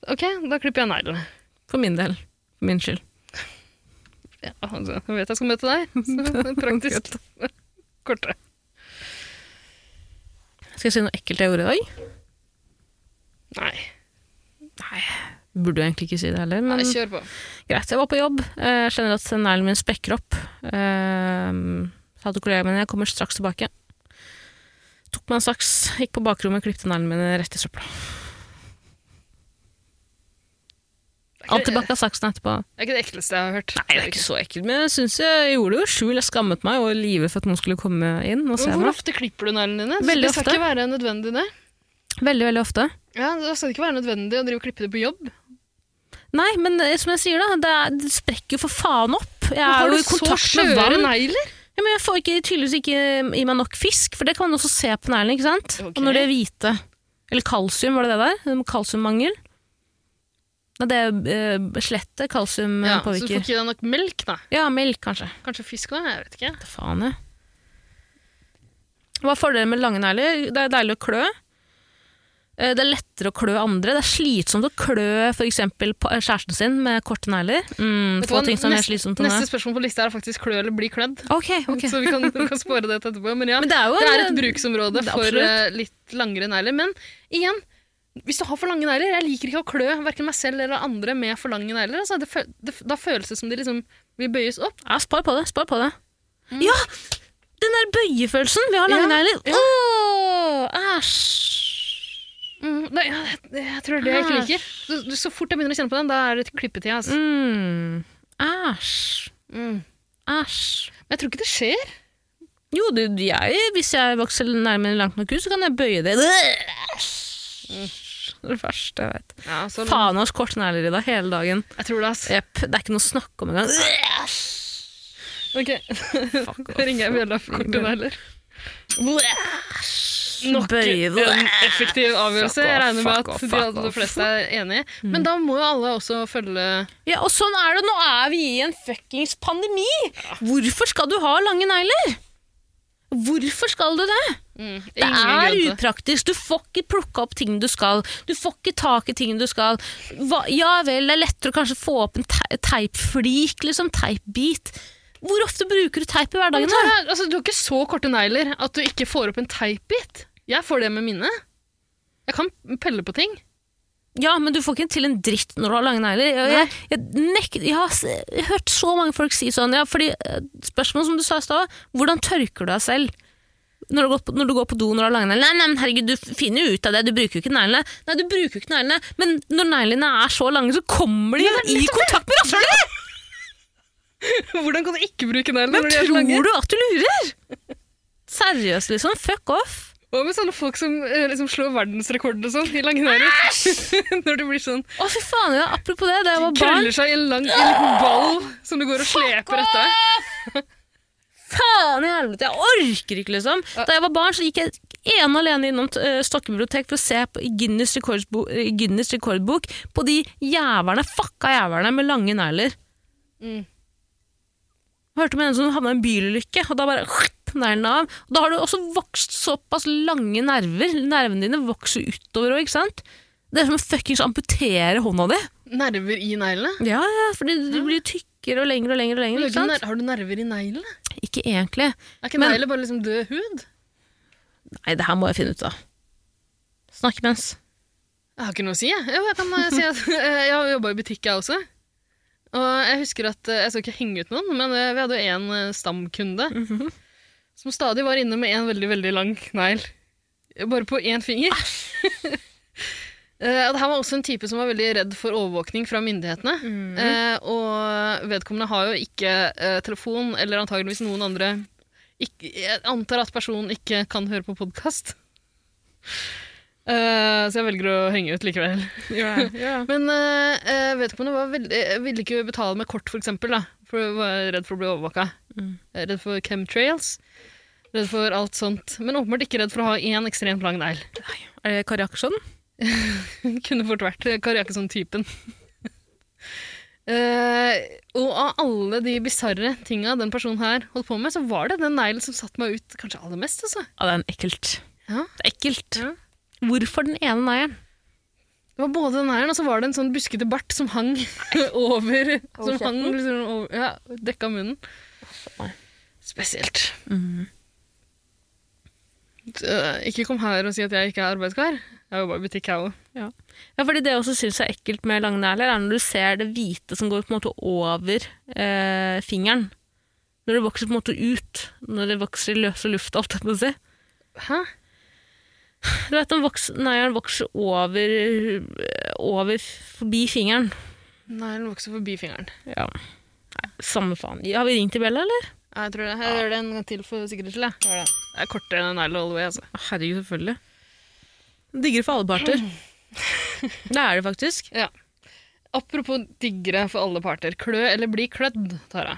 Speaker 3: Ok, da klipper jeg neglene.
Speaker 1: for min del. For min skyld.
Speaker 3: Ja, altså, jeg vet jeg skal møte deg, så det er praktisk kortere.
Speaker 1: Skal jeg si noe ekkelt jeg gjorde i dag?
Speaker 3: Nei.
Speaker 1: Burde jo egentlig ikke si det heller, men
Speaker 3: Nei, kjør på.
Speaker 1: Greit, jeg var på jobb. Eh, Jeg kjenner at neglen min sprekker opp. Eh, Sa til kollegaen min jeg kommer straks tilbake. Tok meg en saks, gikk på bakrommet og klippte neglene mine rett i søpla. Alt tilbake av saksen etterpå.
Speaker 3: Det er ikke det ekleste jeg har hørt.
Speaker 1: Nei, det er ikke så ekkelt, men jeg synes jeg gjorde det jo skjul. Jeg skammet meg og var livet for at noen skulle komme inn og se
Speaker 3: Men Hvor
Speaker 1: meg.
Speaker 3: ofte klipper du neglene dine?
Speaker 1: Veldig
Speaker 3: det skal
Speaker 1: ofte.
Speaker 3: ikke være nødvendig, det.
Speaker 1: Veldig, veldig ofte.
Speaker 3: Ja, det skal ikke være nødvendig å drive og klippe det på jobb.
Speaker 1: Nei, men eh, som jeg sier da, det, er, det sprekker jo for faen opp. Jeg
Speaker 3: Har
Speaker 1: er
Speaker 3: du
Speaker 1: jo i
Speaker 3: så
Speaker 1: kontakt med
Speaker 3: skjøre
Speaker 1: vann.
Speaker 3: negler?
Speaker 1: Ja, men jeg får ikke, tydeligvis ikke i meg nok fisk, for det kan man også se på neglene, ikke sant?
Speaker 3: Ok.
Speaker 1: Og når det er hvite. Eller kalsium, var det det der? Kalsiummangel. Nei, det er eh, skjelettet kalsium eh,
Speaker 3: Ja, Så du får
Speaker 1: påvirker.
Speaker 3: ikke i deg nok melk, da?
Speaker 1: Ja, melk kanskje.
Speaker 3: Kanskje fisk, da? Jeg vet ikke.
Speaker 1: Hva faen, jeg. Hva er fordelen med lange negler? Det er deilig å klø. Eh, Det er lettere å klø andre. Det er slitsomt å klø for eksempel pa- kjæresten sin med korte negler. Mm,
Speaker 3: Vet du
Speaker 1: få
Speaker 3: hva,
Speaker 1: ting som er mer
Speaker 3: neste-
Speaker 1: slitsomt enn det.
Speaker 3: Neste spørsmål på lista er faktisk klø eller bli klødd.
Speaker 1: Ok, ok.
Speaker 3: Så vi kan, vi kan spore det til etterpå. Men ja,
Speaker 1: Men det er jo
Speaker 3: det er et
Speaker 1: en-
Speaker 3: bruksområde
Speaker 1: Det er
Speaker 3: for
Speaker 1: absolutt.
Speaker 3: eh, litt langere negler. Men igjen, hvis du har for lange negler Jeg liker ikke å klø verken meg selv eller andre med for lange negler. Altså, det, fø- det, da føles det som de liksom vil bøyes opp.
Speaker 1: Ja, spar på det, spar på det. Ja! Den der bøyefølelsen ved å ha lange
Speaker 3: Mm. Ja,
Speaker 1: negler.
Speaker 3: ja.
Speaker 1: Åh, æsj.
Speaker 3: Mm, nei, ja, jeg, jeg tror det er det jeg ikke liker. Så, så fort jeg begynner å kjenne på den, da er det klippetid. Altså.
Speaker 1: Mm. Æsj.
Speaker 3: Mm.
Speaker 1: Æsj.
Speaker 3: Men jeg tror ikke det skjer.
Speaker 1: Jo, det, jeg, hvis jeg vokser nærmere langt nok ut, så kan jeg bøye det. Det er det verste jeg vet.
Speaker 3: Ja, så,
Speaker 1: Faen hans kortnegler i dag hele dagen.
Speaker 3: Jeg tror det, altså. ass.
Speaker 1: Jepp, det er ikke noe å snakke om engang.
Speaker 3: Ok,
Speaker 1: Fuck altså.
Speaker 3: da ringer jeg bjella for kortet der, eller? Nok
Speaker 1: Bøye
Speaker 3: en effektiv avgjørelse.
Speaker 1: Fuck
Speaker 3: Jeg
Speaker 1: off,
Speaker 3: regner med
Speaker 1: fuck
Speaker 3: at
Speaker 1: off,
Speaker 3: de
Speaker 1: fuck
Speaker 3: aller
Speaker 1: off.
Speaker 3: fleste er enige. Men da må jo alle også følge
Speaker 1: Ja, og sånn er det. Nå er vi i en fuckings pandemi! Hvorfor skal du ha lange negler? Hvorfor skal du det?
Speaker 3: mm,
Speaker 1: Det
Speaker 3: ingen grunn
Speaker 1: er
Speaker 3: til det.
Speaker 1: upraktisk. Du får ikke plukka opp ting du skal. Du får ikke tak i ting du skal. Hva, ja vel, det er lettere å kanskje få opp en te teipflik, liksom. Teipbit. Hvor ofte bruker du teip i hverdagen? da?
Speaker 3: Tara, altså, du har ikke så korte negler at du ikke får opp en teipbit. Jeg får det med mine. Jeg kan pelle på ting.
Speaker 1: Ja, men du får ikke til en dritt når du har lange negler. Jeg, jeg, jeg, nek, jeg har s- jeg har hørt så mange folk si sånn, ja, fordi eh, spørsmålet som du sa i stad, hvordan tørker du deg selv? Når du, går på, når du går på do når du har lange negler. Nei, nei, men herregud, du finner jo ut av det, du bruker jo ikke neglene. Nei, du bruker jo ikke neglene, men når neglene er så lange, så kommer de jo i kontakt med rasshølet! ditt!
Speaker 3: Hvordan kan du ikke bruke negler
Speaker 1: Men
Speaker 3: når de er så lange?
Speaker 1: tror du at du lurer? Seriøst, liksom. Fuck off.
Speaker 3: Hva med sånne folk som eh, liksom slår verdensrekorden og sånn i lange negler? Når det blir sånn
Speaker 1: Å, fy faen, ja, apropos det, da jeg var barn
Speaker 3: Krøller seg i en lang i en liten ball som du går og sleper etter deg.
Speaker 1: faen i helvete, jeg orker ikke, liksom. Da jeg var barn, så gikk jeg ene og alene innom uh, Stokke bibliotek for å se på i Guinness, rekordsbo- eh, Guinness rekordbok på de jævlene, fucka jævlene med lange negler.
Speaker 3: Mm.
Speaker 1: Hørte om en som havna i en bilulykke, og da bare neglene av. Og da har du også vokst såpass lange nerver. Nervene dine vokser utover òg, ikke sant? Det er som å fuckings amputere hånda di.
Speaker 3: Nerver i neglene?
Speaker 1: Ja, ja, fordi du blir jo tykkere og lengre og lengre. og lengre,
Speaker 3: Har
Speaker 1: ikke
Speaker 3: du,
Speaker 1: sant?
Speaker 3: ner har du nerver i neglene?
Speaker 1: Ikke egentlig.
Speaker 3: Er ikke
Speaker 1: Men-
Speaker 3: negler bare liksom død hud?
Speaker 1: Nei, det her må jeg finne ut av. Snakk imens.
Speaker 3: Jeg har ikke noe å si, jeg. Jo, jeg kan eh, si at eh, jeg har jobba i butikk, jeg også. Og jeg husker at eh, Jeg skal ikke henge ut noen, men eh, vi hadde jo en eh, stamkunde som stadig var inne med en veldig, veldig lang negl. Bare på én finger. Eh, og det her var også en type som var veldig redd for overvåkning fra myndighetene.
Speaker 1: Mm.
Speaker 3: Eh, og vedkommende har jo ikke eh, telefon, eller antageligvis noen andre ikke, Jeg antar at personen ikke kan høre på podkast. Eh, så jeg velger å henge ut likevel. Men eh, eh, vedkommende var veldig, eh, ville ikke betale med kort, for eksempel, da, for var redd for å bli overvåka.
Speaker 1: Mm.
Speaker 3: Eh, Redd for chemtrails, redd for alt sånt. Men åpenbart ikke redd for å ha én ekstremt lang negl.
Speaker 1: Er det Kari Akkerson?
Speaker 3: Kunne fort vært Kari Jakkesson-typen. Eh, og av alle de bisarre tinga den personen her holdt på med, så var det den neglen som satte meg ut kanskje aller mest. Altså.
Speaker 1: Ja, det er en ekkelt.
Speaker 3: Ja.
Speaker 1: Det er ekkelt.
Speaker 3: Ja.
Speaker 1: Hvorfor den ene neieren?
Speaker 3: Det var både den neglen, og så var det en sånn buskete bart som hang over Som hang
Speaker 1: kjeften?
Speaker 3: liksom over, ja, dekka munnen.
Speaker 1: meg.
Speaker 3: Spesielt. Eh, Ikke kom her og si at jeg ikke er arbeidskar. Jeg jobba i butikk, jeg òg.
Speaker 1: Ja, fordi Det jeg også syns er ekkelt med lange negler, er når du ser det hvite som går på en måte over eh, fingeren. Når det vokser på en måte ut. Når det vokser i løse luft, alt jeg må si.
Speaker 3: Hæ?
Speaker 1: Du vet, den voks- Neglen vokser over, eh, over forbi fingeren.
Speaker 3: Neglen vokser forbi fingeren.
Speaker 1: Ja. Nei, samme faen. Har vi ringt til Bella, eller?
Speaker 3: Jeg tror det. Jeg gjør det en gang til for sikkerhets skyld. jeg. Det er kortere enn negler all the way, altså.
Speaker 1: Herregud, selvfølgelig. Digger for alle parter. Det er det faktisk.
Speaker 3: Apropos diggere for alle parter. Klø eller bli klødd, Tara.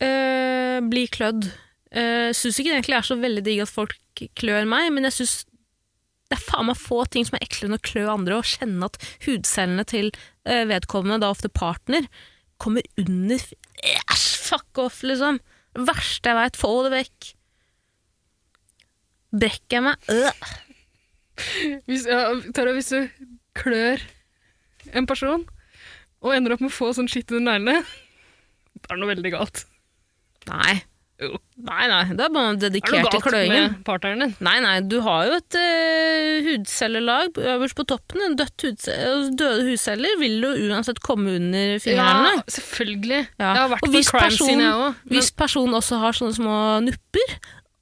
Speaker 1: Eh, bli klødd. Uh, syns ikke det egentlig er så veldig digg at folk klør meg, men jeg syns det er faen meg få ting som er eklere enn å klø andre og kjenne at hudcellene til eh, vedkommende, da ofte partner, kommer under f- Æsj, fuck off, liksom! Det verste jeg veit. Få det vekk. Brekker jeg meg? Øh.
Speaker 3: Hvis, ja, Tara, hvis du klør en person og ender opp med å få sånn skitt under neglene, da er det noe veldig galt.
Speaker 1: Nei.
Speaker 3: Jo.
Speaker 1: Nei, nei. Da er man
Speaker 3: Er det
Speaker 1: dedikert
Speaker 3: noe
Speaker 1: til
Speaker 3: galt
Speaker 1: kløingen.
Speaker 3: med partneren din?
Speaker 1: Nei, nei, du har jo et eh, hudcellelag på- øverst på toppen. En dødt hudce- og døde hudceller vil jo uansett komme under fingrene.
Speaker 3: selvfølgelig.
Speaker 1: Ja.
Speaker 3: Jeg har vært
Speaker 1: Og
Speaker 3: på
Speaker 1: hvis
Speaker 3: crime
Speaker 1: personen-
Speaker 3: scene, jeg òg.
Speaker 1: Hvis personen også har sånne små nupper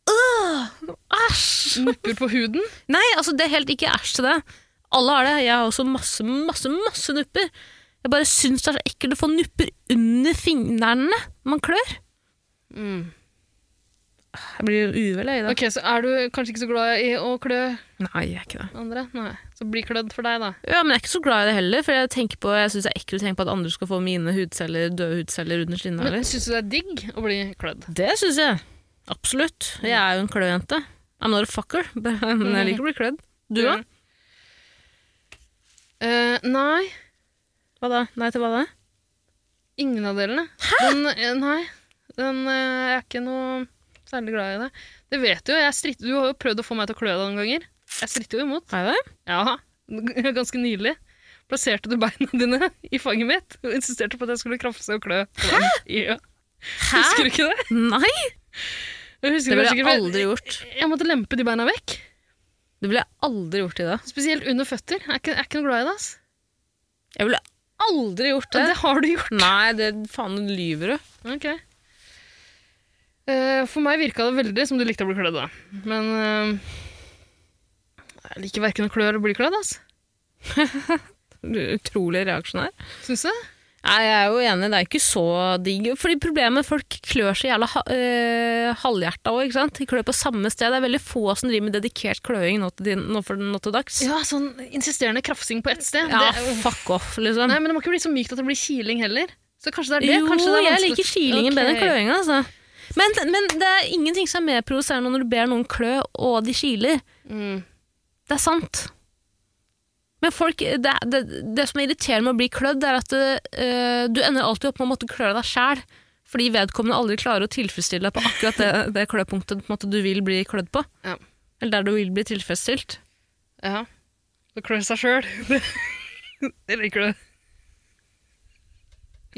Speaker 1: Øh, Æsj!
Speaker 3: Nupper på huden.
Speaker 1: Nei, altså det er helt ikke æsj til det. Alle har det. Jeg har også masse, masse, masse nupper. Jeg bare syns det er så ekkelt
Speaker 3: Mm.
Speaker 1: å få nupper under fingrene når man klør. Jeg blir uvel jeg, i dag.
Speaker 3: Ok, Så er du kanskje ikke så glad i å klø
Speaker 1: Nei, jeg er ikke det.
Speaker 3: andre? Nei. Så bli klødd for deg, da.
Speaker 1: Ja, men jeg er ikke så glad i det heller, for jeg tenker på, jeg synes det er ekkelt å tenke på at andre skal få mine hudceller, døde hudceller under sine
Speaker 3: Men
Speaker 1: negler.
Speaker 3: Syns du det er digg å bli klødd?
Speaker 1: Det synes jeg. Absolutt. Jeg er jo en kløjente. I'm not a fucker, but- men jeg liker å bli klødd. Du da?
Speaker 3: Mm. Eh, nei.
Speaker 1: Hva da? Nei til hva da?
Speaker 3: Ingen av delene. Den, eh, nei, den, eh, jeg er ikke noe særlig glad i det. Det vet du jo. Jeg stritt, du har jo prøvd å få meg til å klø deg noen ganger. Jeg stritter jo imot.
Speaker 1: Nei det?
Speaker 3: Ja, ganske nylig. Plasserte du beina dine i fanget mitt og insisterte på at jeg skulle krafse og klø. Hæ? Ja.
Speaker 1: Hæ?
Speaker 3: Husker du ikke det?
Speaker 1: Nei,
Speaker 3: Jeg husker
Speaker 1: det ville jeg
Speaker 3: sikkert-
Speaker 1: aldri gjort.
Speaker 3: Jeg måtte lempe de beina vekk.
Speaker 1: Det ville jeg aldri gjort i dag.
Speaker 3: Spesielt under føtter. Jeg er ikke, jeg er ikke noe glad i det. ass.
Speaker 1: Jeg ville aldri gjort
Speaker 3: Og
Speaker 1: det.
Speaker 3: det har du gjort.
Speaker 1: Nei, det faen du lyver du.
Speaker 3: Ok. Eh, for meg virka det veldig som du likte å bli klødd, da. Men eh, jeg liker verken å klø eller bli klødd, altså.
Speaker 1: Du er Utrolig reaksjonær.
Speaker 3: Syns du?
Speaker 1: Nei, jeg er jo enig, det er ikke så digg. Fordi problemet folk klør så jævla ha- øh, halvhjerta òg, ikke sant. De klør på samme sted. Det er veldig få som driver med dedikert kløing nå til, din, nå for, nå til dags.
Speaker 3: Ja, sånn insisterende krafsing på ett sted.
Speaker 1: Ja,
Speaker 3: Det er jo-
Speaker 1: fuck off, liksom.
Speaker 3: Nei, men det må ikke bli så mykt at det blir kiling heller. Så kanskje det er det?
Speaker 1: jo,
Speaker 3: kanskje det er
Speaker 1: jeg
Speaker 3: vanskelig-
Speaker 1: liker kilingen bedre enn
Speaker 3: Ok.
Speaker 1: kløinga, altså. Men, men det er ingenting som er mer provoserende når du ber noen klø, og de kiler.
Speaker 3: Mm.
Speaker 1: Det er sant. Men folk, det, det, det som er irriterende med å bli klødd, er at eh, du ender alltid opp med å måtte klø deg sjæl. Fordi vedkommende aldri klarer å tilfredsstille deg på akkurat det, det kløpunktet på en måte, du vil bli klødd på.
Speaker 3: Ja.
Speaker 1: Eller der du vil bli tilfredsstilt.
Speaker 3: Ja. Å klø seg sjøl. Det det liker du.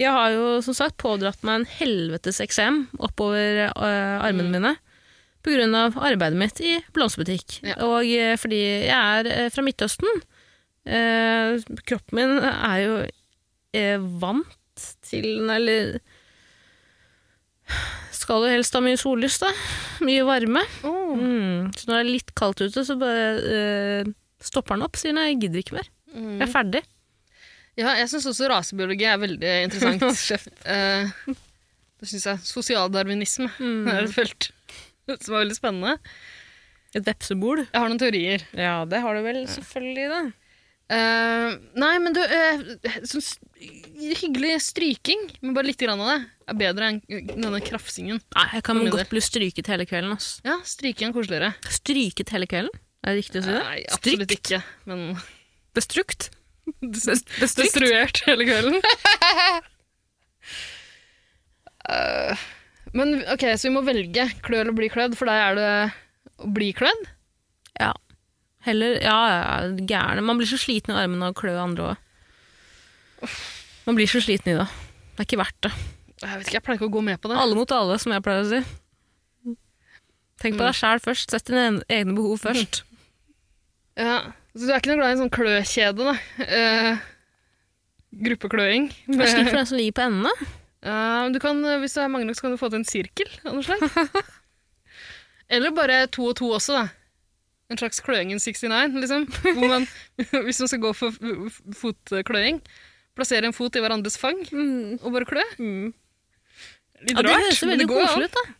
Speaker 1: Jeg har jo som sagt pådratt meg en helvetes eksem oppover eh, armene mine på grunn av arbeidet mitt i blomsterbutikk.
Speaker 3: Ja.
Speaker 1: Og eh, fordi jeg er eh, fra Midtøsten, eh, kroppen min er jo eh, vant til Eller skal jo helst ha mye sollys, da. Mye varme.
Speaker 3: Oh.
Speaker 1: Mm. Så når det er litt kaldt ute, så bare eh, stopper den opp. Sier nei, jeg gidder ikke mer. Jeg er ferdig.
Speaker 3: Ja, jeg syns også rasebiologi er veldig interessant. sjef. Eh, det syns jeg. Sosialdarwinisme er et felt som er veldig spennende.
Speaker 1: Et vepsebol.
Speaker 3: Jeg har noen teorier.
Speaker 1: Ja, det har du vel selvfølgelig, da.
Speaker 3: Eh, nei, men du eh, sånn s- Hyggelig stryking, men bare litt grann av det, er bedre enn denne krafsingen.
Speaker 1: Nei, jeg kan
Speaker 3: For min
Speaker 1: godt bli stryket hele kvelden. Ass.
Speaker 3: Ja, stryking er koseligere.
Speaker 1: Stryket hele kvelden? Er det riktig å si det?
Speaker 3: Nei, absolutt ikke, men
Speaker 1: Bestrukt? Bestrykt?
Speaker 3: Destruert hele kvelden. Eh, men ok, så vi må velge klø eller bli klødd. For deg er det å bli klødd?
Speaker 1: Ja. Heller, ja, ja, gærne. Man blir så sliten i armene av å klø andre òg. Man blir så sliten i det. Det er ikke verdt det.
Speaker 3: Jeg vet ikke, jeg pleier ikke å gå med på det.
Speaker 1: Alle mot alle, som jeg pleier å si. Tenk
Speaker 3: Mm.
Speaker 1: på deg sjæl først. Sett dine en- egne behov først.
Speaker 3: Ja, så du er ikke noe glad i en sånn kløkjede, da? Eh, gruppekløing.
Speaker 1: Det er slik
Speaker 3: Med,
Speaker 1: for den som ligger på endene.
Speaker 3: Ja, men du kan, eh, hvis det er mange nok, så kan du få til en sirkel av noe slag. Eller bare to og to også, da. En slags kløingen 69, liksom. Hvor man, hvis man skal gå for f- f- fotkløing, plassere en fot i hverandres fang og bare klø. Litt
Speaker 1: Ja, det
Speaker 3: Mm. rart,
Speaker 1: høres jo
Speaker 3: men
Speaker 1: veldig
Speaker 3: det går
Speaker 1: koselig ut, da.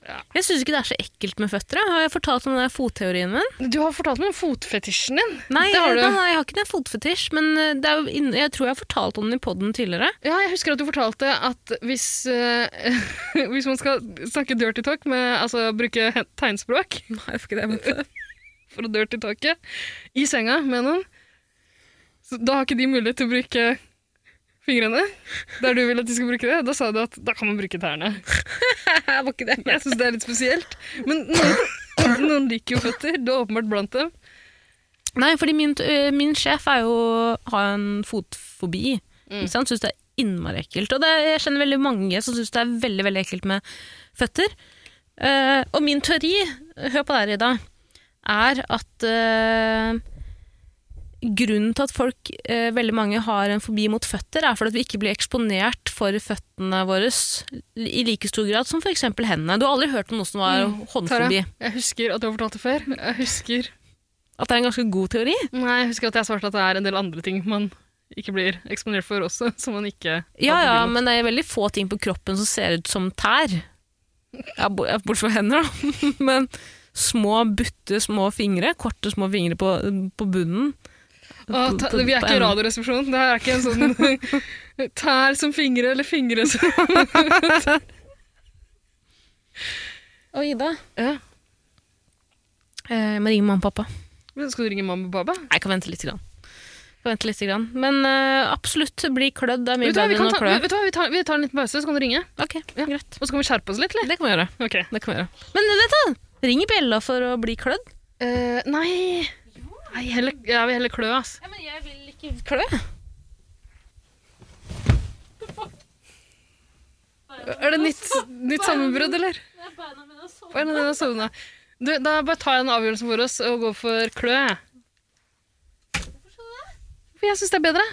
Speaker 3: Ja.
Speaker 1: Jeg syns ikke det er så ekkelt med føtter. jeg. Har jeg fortalt om den der fotteorien min?
Speaker 3: an. Du har fortalt meg om fotfetisjen din.
Speaker 1: Nei,
Speaker 3: Det har du.
Speaker 1: nei, nei, jeg har ikke den fotfetisj, men eh, det er jo inn- jeg tror jeg har fortalt om den i podden tidligere.
Speaker 3: Ja, jeg husker at du fortalte at hvis, eh, hvis man skal snakke dirty talk, med, altså bruke he- tegnspråk,
Speaker 1: Nei, jeg ikke det.
Speaker 3: for å dirty talke i senga med noen. Så da har ikke de mulighet til å bruke fingrene der du vil at de skal bruke det. Da sa du at da kan man bruke tærne.
Speaker 1: var ikke det.
Speaker 3: Jeg syns det er litt spesielt. Men noen, noen liker jo føtter. Du er åpenbart blant dem.
Speaker 1: Nei, fordi min, t- øh, min sjef er jo, har en fotfobi. Mm. Han syns det er innmari ekkelt. Og det, jeg kjenner veldig mange som syns det er veldig veldig ekkelt med føtter. Eh, og min teori, hør på det her, Ida, er at eh, grunnen til at folk, eh, veldig mange, har en fobi mot føtter, er fordi at vi ikke blir eksponert for føttene våre i like stor grad som f.eks. hendene. Du har aldri hørt om noen som har
Speaker 3: Tara,
Speaker 1: håndfobi.
Speaker 3: jeg husker at du har fortalt det før. Jeg husker
Speaker 1: At det er en ganske god teori.
Speaker 3: Nei, jeg husker at jeg svarte at det er en del andre ting man ikke blir eksponert for også, som man ikke har
Speaker 1: Ja, ja,
Speaker 3: fobi mot.
Speaker 1: men det er veldig få ting på kroppen som ser ut som tær. Ja, bo- ja, bortsett fra hender, da. Men små, butte små fingre. Korte, små fingre på, på bunnen.
Speaker 3: Å, ta, vi er ikke i Radioresepsjonen. Det her er ikke en sånn tær som fingre eller fingre som
Speaker 1: Og Ida?
Speaker 3: ja.
Speaker 1: Eh, jeg må ringe mamma og pappa.
Speaker 3: Men Skal du ringe mamma og pappa?
Speaker 1: Nei, jeg kan vente litt. Grann. Jeg kan vente litt grann. Men eh, absolutt, bli klødd er mye
Speaker 3: Vet du hva,
Speaker 1: bedre
Speaker 3: vi, kan
Speaker 1: enn å
Speaker 3: ta,
Speaker 1: klø.
Speaker 3: vet du hva, vi, tar, vi tar en liten pause, så kan du ringe.
Speaker 1: Ok, greit.
Speaker 3: Og så kan vi skjerpe oss litt, eller?
Speaker 1: Det kan vi gjøre.
Speaker 3: Ok.
Speaker 1: Det kan vi gjøre. Men vent da! Ring i bjella for å bli klødd.
Speaker 3: Eh, nei Nei, heller, jeg vil heller klø, ass.
Speaker 1: Ja, men jeg vil ikke klø.
Speaker 3: Er det nytt, nytt sammenbrudd, eller? Beina dine har sovna. Du, da bare tar jeg en avgjørelse for oss og går for klø. jeg. For jeg syns det er bedre.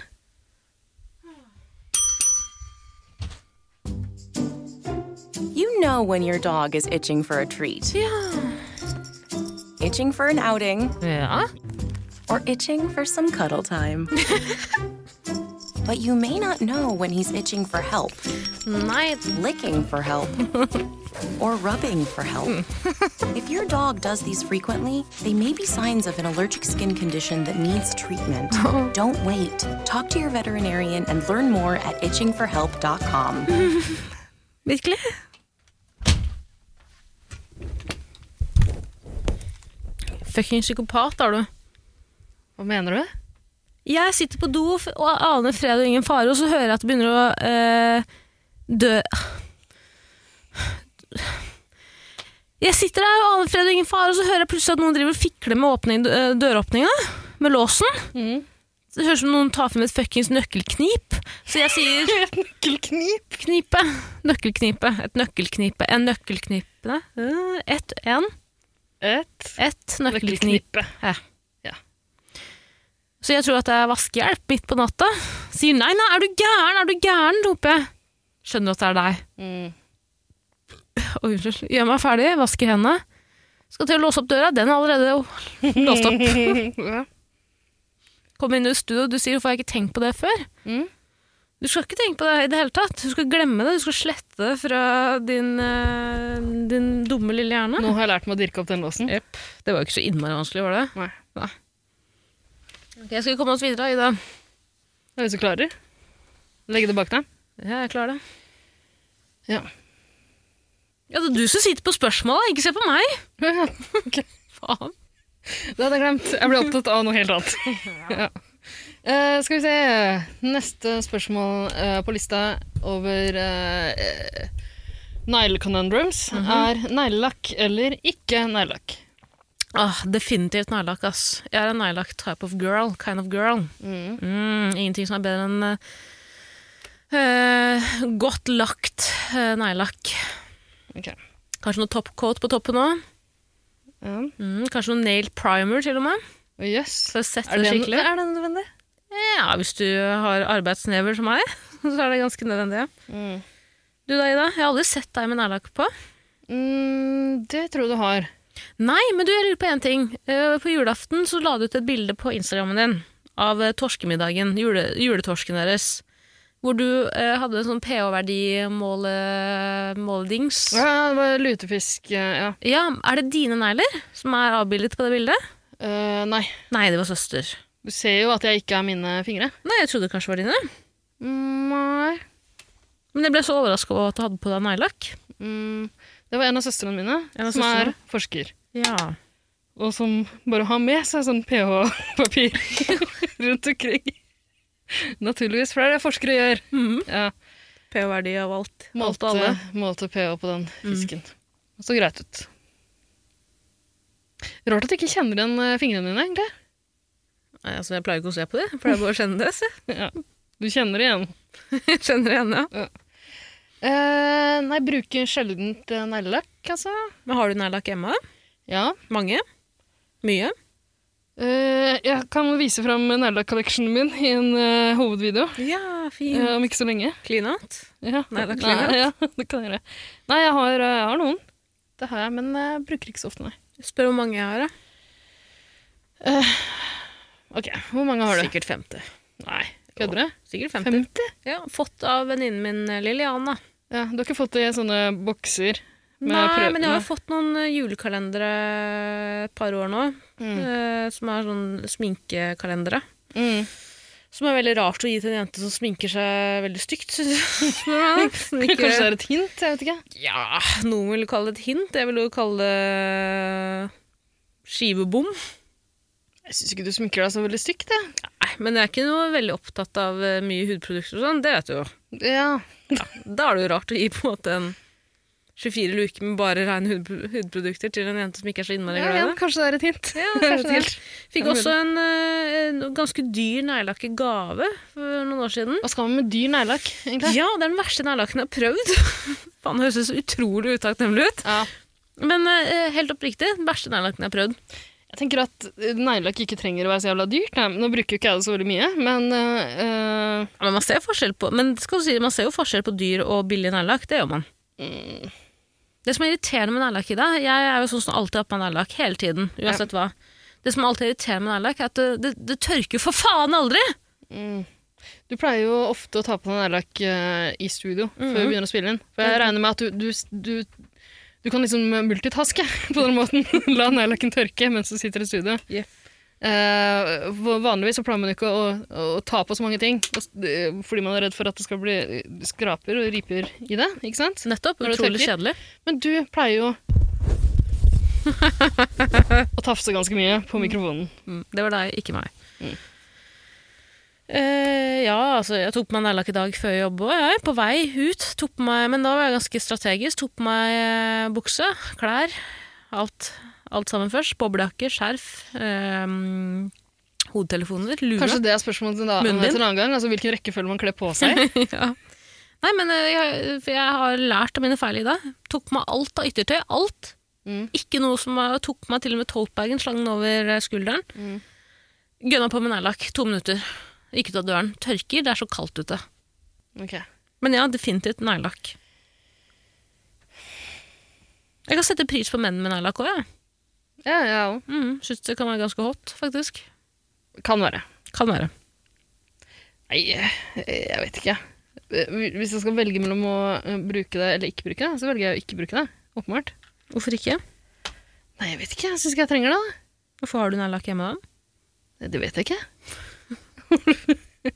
Speaker 4: You know when your dog is itching for a treat,
Speaker 1: Ja.
Speaker 4: itching for an outing,
Speaker 1: ja.
Speaker 4: or itching for some cuddle time. but you may not know when he's itching for help,
Speaker 1: Nei,
Speaker 4: licking for help, or rubbing for help. if your dog does these frequently, they may be signs of an allergic skin condition that needs treatment. Don't wait. Talk to your veterinarian and learn more at itchingforhelp.com.
Speaker 1: Virkelig? Fucking psykopat er du.
Speaker 3: Hva mener du?
Speaker 1: Jeg sitter på do f- og aner fred og ingen fare, og så hører jeg at det begynner å eh, dø Jeg sitter der og aner fred og ingen fare, og så hører jeg plutselig at noen driver og fikler med åpning, eh, døråpninga. Med låsen.
Speaker 3: Mhm.
Speaker 1: Det høres ut som noen tar frem et fuckings nøkkelknip. Så jeg sier
Speaker 3: Nøkkelknip.
Speaker 1: knipe. Nøkkelknipe. Et nøkkelknipe. En nøkkelknipe. Eh, Et, en.
Speaker 3: Et
Speaker 1: Et nøkkelknipe.
Speaker 3: nøkkelknippe.
Speaker 1: Så jeg tror at det er vaskehjelp midt på natta. Sier nei, nei, er du gæren, er du gæren, roper jeg. Skjønner at det er deg.
Speaker 3: Mm.
Speaker 1: Oi, unnskyld. Gjør meg ferdig, vasker hendene. Skal til å låse opp døra, den er allerede låst opp.
Speaker 3: Ja.
Speaker 1: Kom inn i studio, du sier hvorfor har jeg ikke tenkt på det før?
Speaker 3: Mm.
Speaker 1: Du skal ikke tenke på det i det hele tatt. Du skal glemme det, du skal slette det fra din, eh, din dumme lille hjerne.
Speaker 3: Nå har jeg lært meg å dirke opp den låsen.
Speaker 1: Jepp. Det var jo ikke så innmari vanskelig, var det?
Speaker 3: Nei.
Speaker 1: Ok, skal vi komme oss videre, Ida?
Speaker 3: Er du så klarer? Legge det bak deg?
Speaker 1: Ja, jeg klarer det.
Speaker 3: Ja.
Speaker 1: Ja, det er du som sitter på spørsmålet, ikke se på meg. Faen.
Speaker 3: Det hadde jeg glemt. Jeg ble opptatt av noe helt annet. ja. Eh, skal vi se Neste spørsmål eh, på lista over uh, Nile conundrums
Speaker 1: Mhm.
Speaker 3: er neglelakk eller ikke neglelakk.
Speaker 1: Ah, definitivt neglelakk, ass. Jeg er en neglelakk type of girl, kind of girl.
Speaker 3: Mm.
Speaker 1: Mm, ingenting som er bedre enn eh, eh, godt lagt uh, neglelakk.
Speaker 3: Ok.
Speaker 1: Kanskje noe topcoat på toppen òg.
Speaker 3: Ja.
Speaker 1: Mm, kanskje noe nail primer, til og med.
Speaker 3: Og Jøss.
Speaker 1: For å sette
Speaker 3: Er,
Speaker 1: det
Speaker 3: det-
Speaker 1: skikkelig.
Speaker 3: er det nødvendig?
Speaker 1: Ja, hvis du har arbeidsnever som meg, så er det ganske nødvendig.
Speaker 3: Mm.
Speaker 1: Du da, Ida? Jeg har aldri sett deg med neglelakk på.
Speaker 3: Mm, det tror jeg du har.
Speaker 1: Nei, men du, jeg lurer på én ting. Eh, På julaften så la du ut et bilde på Instagrammen din av eh, torskemiddagen, jule, juletorsken deres. Hvor du eh, hadde en sånn pH-verdimåledings.
Speaker 3: Ja, det var lutefisk. eh, Ja.
Speaker 1: Ja, er det dine negler som er avbildet på det bildet?
Speaker 3: Eh, nei.
Speaker 1: Nei, det var søster.
Speaker 3: Du ser jo at jeg ikke er mine fingre.
Speaker 1: Nei, jeg trodde det kanskje var dine.
Speaker 3: Mm, nei.
Speaker 1: Men jeg ble så overraska over at du hadde på deg neglelakk.
Speaker 3: Mm, det var en av søstrene mine,
Speaker 1: En av
Speaker 3: som
Speaker 1: søstrene?
Speaker 3: er forsker.
Speaker 1: Ja.
Speaker 3: og som bare har med seg sånn pH-papir rundt omkring. Naturligvis, for det er det forskere gjør. Ja,
Speaker 1: pH-verdi av alt. Alt og
Speaker 3: Mhm. målte, Mhm.
Speaker 1: alle.
Speaker 3: målte pH på den fisken. Det så greit ut. Rart at du ikke kjenner igjen eh, fingrene dine, egentlig.
Speaker 1: Nei, altså, jeg pleier ikke å se på det. Jeg pleier bare å kjenne det. Se.
Speaker 3: Ja. Du kjenner det igjen.
Speaker 1: Jeg kjenner det igjen, ja.
Speaker 3: Eh, nei, bruker sjeldent eh, neglelakk, altså.
Speaker 1: Men har du neglelakk hjemme?
Speaker 3: Ja.
Speaker 1: Mange? Mye?
Speaker 3: Eh, jeg kan vise fram neglelakk-collectionen min i en eh, hovedvideo
Speaker 1: Ja, fin.
Speaker 3: eh, om ikke så lenge.
Speaker 1: Klinat?
Speaker 3: Ja.
Speaker 1: Nei, det er ikke lenger.
Speaker 3: Nei, ja, det kan jeg gjøre. Nei, jeg har, eh, jeg har noen. Det har jeg, men jeg bruker ikke så ofte, nei.
Speaker 1: Spør hvor mange jeg har, da.
Speaker 3: Ok, Hvor mange har du?
Speaker 1: Sikkert 50.
Speaker 3: Nei, Kødder du?
Speaker 1: Sikkert 50.
Speaker 3: 50?
Speaker 1: Ja, fått av venninnen min eh, Liliana.
Speaker 3: Ja, du har ikke fått det i sånne bokser med
Speaker 1: Nei,
Speaker 3: prøvene.
Speaker 1: men jeg har fått noen eh, julekalendere et par år nå. eh, som er sånn sminkekalendere.
Speaker 3: Mm.
Speaker 1: Som er veldig rart å gi til en jente som sminker seg veldig stygt. synes jeg. Som ikke-
Speaker 3: Kanskje det er et hint? Jeg vet ikke.
Speaker 1: Ja, noen vil kalle det et hint. Jeg vil jo kalle det skivebom.
Speaker 3: Jeg syns ikke du sminker deg så veldig stygt, jeg.
Speaker 1: Nei, men jeg er ikke noe veldig opptatt av eh, mye hudprodukter og sånn. Det vet du jo.
Speaker 3: Ja.
Speaker 1: Da er det jo rart å gi på en måte en 24 luker med bare rene hudpro- hudprodukter til en jente som ikke er så innmari
Speaker 3: Ja,
Speaker 1: glad i
Speaker 3: igjen,
Speaker 1: det.
Speaker 3: kanskje det er et hint.
Speaker 1: Ja,
Speaker 3: Jeg
Speaker 1: kanskje
Speaker 3: vet
Speaker 1: det.
Speaker 3: ikke helt.
Speaker 1: Fikk
Speaker 3: Det er
Speaker 1: også en, eh, en ganske dyr neglelakk i gave for noen år siden.
Speaker 3: Hva skal man med dyr neglelakk, egentlig?
Speaker 1: Ja, det er den verste neglelakken jeg har prøvd. Faen, det høres så utrolig utakknemlig ut.
Speaker 3: Ja.
Speaker 1: Men eh, helt oppriktig, den verste neglelakken jeg har prøvd.
Speaker 3: Jeg tenker at eh, neglelakk ikke trenger å være så jævla dyrt. Nei, men nå bruker jo ikke jeg det så veldig mye, men eh, eh,
Speaker 1: Ja, Men man ser, forskjell på, men skal du si, man ser jo forskjell på dyr og billig neglelakk. Det gjør man. Mm. Det som er irriterende med neglelakk, Ida Jeg er jo sånn som alltid har på meg neglelakk hele tiden. uansett hva. Det som alltid er irriterende med neglelakk, er at det, det, det tørker jo for faen aldri!
Speaker 3: Du pleier jo ofte å ta på deg neglelakk eh, i studio før vi
Speaker 1: Mhm.
Speaker 3: begynner å spille inn. For jeg regner med at du, du, du, du kan liksom multitaske på den måten. La neglelakken tørke mens du sitter i studio.
Speaker 1: Jepp.
Speaker 3: Eh, for vanligvis så pleier man ikke å, å, å ta på så mange ting og s- eh, fordi man er redd for at det skal bli eh, skraper og riper i det. ikke sant?
Speaker 1: Nettopp.
Speaker 3: Når det
Speaker 1: Utrolig
Speaker 3: tørker.
Speaker 1: kjedelig.
Speaker 3: Men du pleier jo å tafse ganske mye på mikrofonen.
Speaker 1: Mm, Det var deg, ikke meg. Eh, ja, altså, jeg tok på meg neglelakk i dag før jobb òg. Jeg er på vei ut. Tok på meg, men da var jeg ganske strategisk. Tok på meg eh, bukse, klær, alt, alt sammen først. Boblejakke, skjerf, eh, hodetelefoner, lue.
Speaker 3: Kanskje det er spørsmålet til, da, til
Speaker 1: Munnen din?
Speaker 3: en annen gang. Altså hvilken rekkefølge man kler på seg.
Speaker 1: ja. Nei, men eh, jeg, for jeg har lært av mine feil i dag. Tok på meg alt av yttertøy. Alt.
Speaker 3: Mm.
Speaker 1: Ikke noe som var- Tok på meg til og med totebagen, slang den over eh, skulderen. Gønna på med neglelakk. To minutter. Gikk ut av døren. Tørker. Det er så kaldt ute.
Speaker 3: Ok.
Speaker 1: Men ja, definitivt neglelakk. Jeg kan sette pris på menn med neglelakk òg, jeg.
Speaker 3: Ja, jeg òg.
Speaker 1: Mm, Syns det kan være ganske hot, faktisk.
Speaker 3: Kan være.
Speaker 1: Kan være.
Speaker 3: Nei, jeg vet ikke. Hvis jeg skal velge mellom å eh, bruke det eller ikke bruke det, så velger jeg å ikke bruke det. Åpenbart.
Speaker 1: Hvorfor ikke?
Speaker 3: Nei, jeg vet ikke. Jeg syns ikke jeg trenger det. da.
Speaker 1: Hvorfor har du neglelakk hjemme da?
Speaker 3: Nei, Det vet jeg ikke. jeg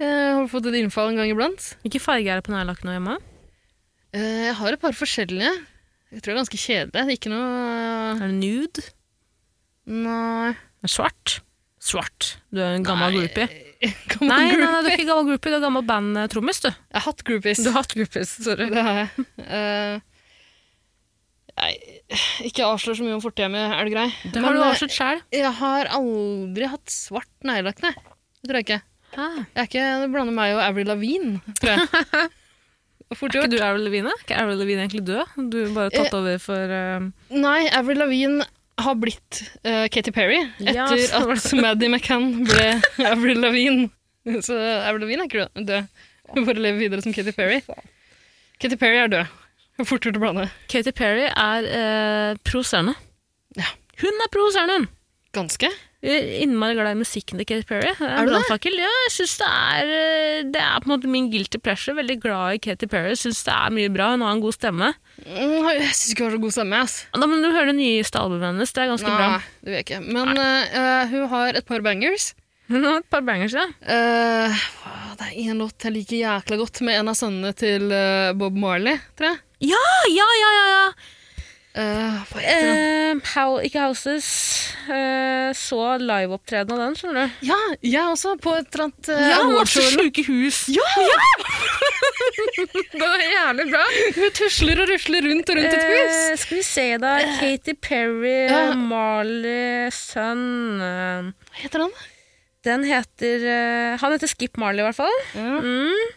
Speaker 3: har fått et innfall en gang iblant.
Speaker 1: Hvilke farger er det på neglelakk nå hjemme?
Speaker 3: Eh, Jeg har et par forskjellige. Jeg tror det er ganske kjedelig. Det er ikke noe eh,
Speaker 1: Er det nude?
Speaker 3: Nei.
Speaker 1: Men Svart? Svart. Du er en gammel
Speaker 3: Nei,
Speaker 1: groupie.
Speaker 3: Kan man
Speaker 1: Nei, nei, nei,
Speaker 3: group-
Speaker 1: du er ikke gammel groupie, du er gammel bandtrommis, du.
Speaker 3: Jeg har hatt groupies.
Speaker 1: har hatt groupies, sorry.
Speaker 3: Det har jeg. Eh, Nei, ikke avslør så mye om fortida mi, er det grei?
Speaker 1: Det har
Speaker 3: Men,
Speaker 1: du
Speaker 3: eh,
Speaker 1: avslørt sjæl.
Speaker 3: Jeg har aldri hatt svart neglelakk, nei. Det tror jeg ikke.
Speaker 1: Er
Speaker 3: Jeg er ikke det blander meg og Avril Lavigne, tror jeg. Fort
Speaker 1: ikke
Speaker 3: gjort.
Speaker 1: du Avril Lavigne? Er ikke Avril Lavigne egentlig død? Du har bare tatt over for eh,
Speaker 3: Nei, Avril Lavigne har blitt eh, Katy Perry
Speaker 1: Ja,
Speaker 3: etter
Speaker 1: så var
Speaker 3: at Maddie McCann ble Avril Lavigne. Så Avril Lavigne er ikke død. Hun bare lever videre som Katy Perry. Katy Perry er død. Fort gjort å blande.
Speaker 1: Katy Perry er eh, provoserende.
Speaker 3: Ja.
Speaker 1: Hun er provoserende, hun!
Speaker 3: Ganske.
Speaker 1: Jeg er Innmari glad i musikken til Katy Perry. Det
Speaker 3: Er
Speaker 1: Er
Speaker 3: du det?
Speaker 1: brannfakkel. Ja, jeg synes det er eh, Det er på en måte min guilty pleasure. Veldig glad i Katy Perry. Syns det er mye bra. Hun har en god stemme.
Speaker 3: Mm, Jeg syns ikke hun har så god stemme. ass.
Speaker 1: Da må du høre det nyeste albumet hennes. Det er ganske bra.
Speaker 3: Nei, det vil jeg ikke. Men eh, eh, hun har et par bangers.
Speaker 1: Hun har et par bangers, ja.
Speaker 3: Eh, hva, det er en låt jeg liker jækla godt med en av sønnene til eh, Bob Marley, tror jeg.
Speaker 1: Ah, ja, ja, ja, ja.
Speaker 3: Eh, hva heter den?
Speaker 1: Eh, How, ikke Houses. Eh, så liveopptreden av den, skjønner du.
Speaker 3: ja, jeg også, på et eller annet eh,
Speaker 1: Ja, masse
Speaker 3: awardshow.
Speaker 1: sluke hus. Ja! det var jævlig bra.
Speaker 3: Hun tusler og rusler rundt og rundt et hus.
Speaker 1: Eh, skal vi se, da. Katy Perry,
Speaker 3: Eh. Ja.
Speaker 1: Marley, Sun eh,
Speaker 3: Hva heter den? da?
Speaker 1: Den heter eh, Han heter Skip Marley, i hvert fall. Mm.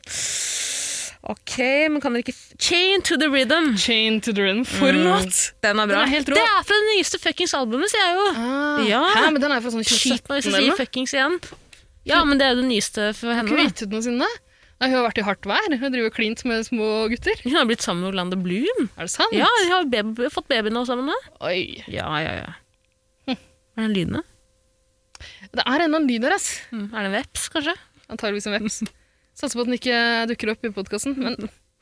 Speaker 1: Ok, men kan dere ikke f- Chain to the Rhythm.
Speaker 3: Chain to the Rhythm. For en låt!
Speaker 1: Den er bra.
Speaker 3: Den er helt rå.
Speaker 1: det er fra det nyeste fuckings albumet, sier jeg jo.
Speaker 3: Ah,
Speaker 1: Ja.
Speaker 3: Hæ, men den er fra sånn
Speaker 1: Skyt
Speaker 3: 2017
Speaker 1: meg hvis jeg
Speaker 3: eller
Speaker 1: sier
Speaker 3: noe.
Speaker 1: fuckings igjen. Ja, men det er jo det nyeste for
Speaker 3: Har ikke
Speaker 1: henne. Da.
Speaker 3: gitt ut noe siden da? Nei, hun har vært i hardt vær. Hun driver og klint med små gutter.
Speaker 1: Hun har blitt sammen med Orlando Bloom.
Speaker 3: Er det sant?
Speaker 1: Ja, de har baby, fått babyen nå sammen. Da.
Speaker 3: Oi.
Speaker 1: Ja, ja, ja. Er det en lyne?
Speaker 3: Det er en eller annen lyd der, ass.
Speaker 1: Mm. Er det en veps, kanskje?
Speaker 3: Antageligvis en veps. Satser på at den ikke dukker opp i podkasten, men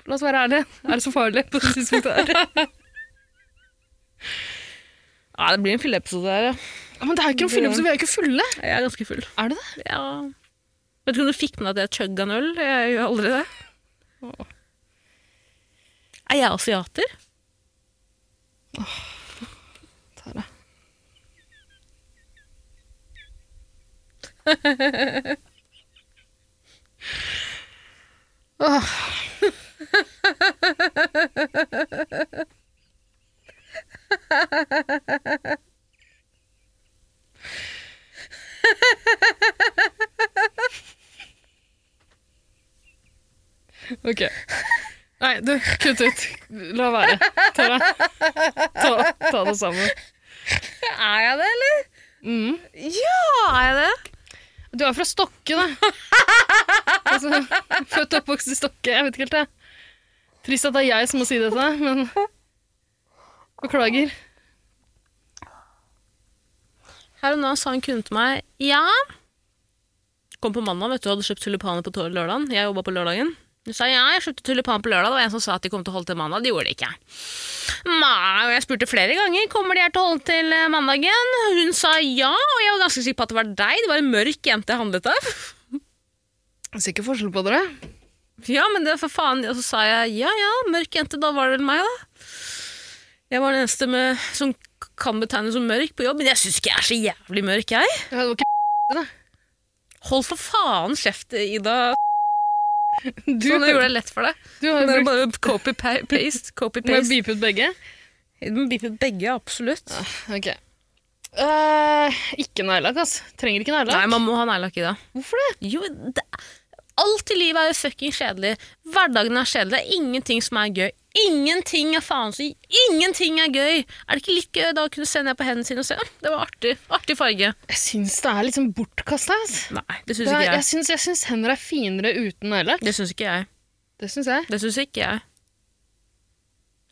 Speaker 3: la oss være ærlige. Er det så farlig på det tidspunktet? her?
Speaker 1: Ja, det blir en fylleepisode her, ja.
Speaker 3: Ja, Men det er jo ikke noen fylleepisode, vi er jo ikke fulle.
Speaker 1: Jeg er ganske full.
Speaker 3: Er det det?
Speaker 1: Ja. Vet ikke om du fikk med deg at jeg chugga en øl? Jeg gjør aldri det. Er jeg asiater?
Speaker 3: Tara. Åh. Ok. Nei, du, kutt ut. La være. Tara. Ta, ta det sammen.
Speaker 1: Er jeg det, eller?
Speaker 3: Mm.
Speaker 1: Ja, er jeg det?
Speaker 3: Du er fra Stokke, da. altså, født og oppvokst i Stokke. Jeg vet ikke helt det. Trist at det er jeg som må si dette, men beklager.
Speaker 1: Her og nå sa en kunde til meg ja. Kom på mandag, vet du, hadde kjøpt tulipaner på tå- lørdagen. Jeg jobba på lørdagen. Hun sa ja, jeg kjøpte tulipaner på lørdag. Det var en som sa at de kom til å holde til mandag. De gjorde det ikke. Nei, og jeg spurte flere ganger kommer de her til å holde til eh, mandagen. Hun sa ja, og jeg var ganske sikker på at det var deg. Det var en mørk jente jeg handlet av.
Speaker 3: Jeg ser ikke forskjell på dere.
Speaker 1: Ja, men det er for faen. Og så sa jeg ja, ja, mørk jente, da var det vel meg, da. Jeg var den eneste med, som kan betegnes som mørk på jobb, men jeg syns ikke jeg er så jævlig mørk, jeg.
Speaker 3: Ja, Det var ikke
Speaker 1: Hold for faen kjeft, Ida.
Speaker 3: du.
Speaker 1: Sånn jeg gjorde det lett for deg.
Speaker 3: du
Speaker 1: Det
Speaker 3: har jo
Speaker 1: er bare
Speaker 3: brukt
Speaker 1: copy-paste,
Speaker 3: Må jeg
Speaker 1: copy-paste.
Speaker 3: beepe ut begge?
Speaker 1: Du må beepe begge, absolutt.
Speaker 3: Ok. Eh, ikke neglelakk, altså. Trenger ikke
Speaker 1: Nei,
Speaker 3: neglelakk.
Speaker 1: man må ha neglelakk i det.
Speaker 3: Hvorfor det?
Speaker 1: Jo, det, alt i livet er jo fucking kjedelig. Hverdagen er kjedelig. Det er ingenting som er gøy. Ingenting er faen så Ingenting er gøy! Er det ikke litt gøy da å kunne se ned på hendene sine og se? «Å, Det var artig. Artig farge.
Speaker 3: Jeg syns det er litt sånn bortkasta. Altså.
Speaker 1: Nei, det
Speaker 3: Det
Speaker 1: syns
Speaker 3: er-
Speaker 1: ikke
Speaker 3: Jeg
Speaker 1: jeg.
Speaker 3: syns- jeg syns hender er finere uten neglelakk.
Speaker 1: Det syns ikke jeg.
Speaker 3: Det syns jeg.
Speaker 1: Det syns ikke jeg.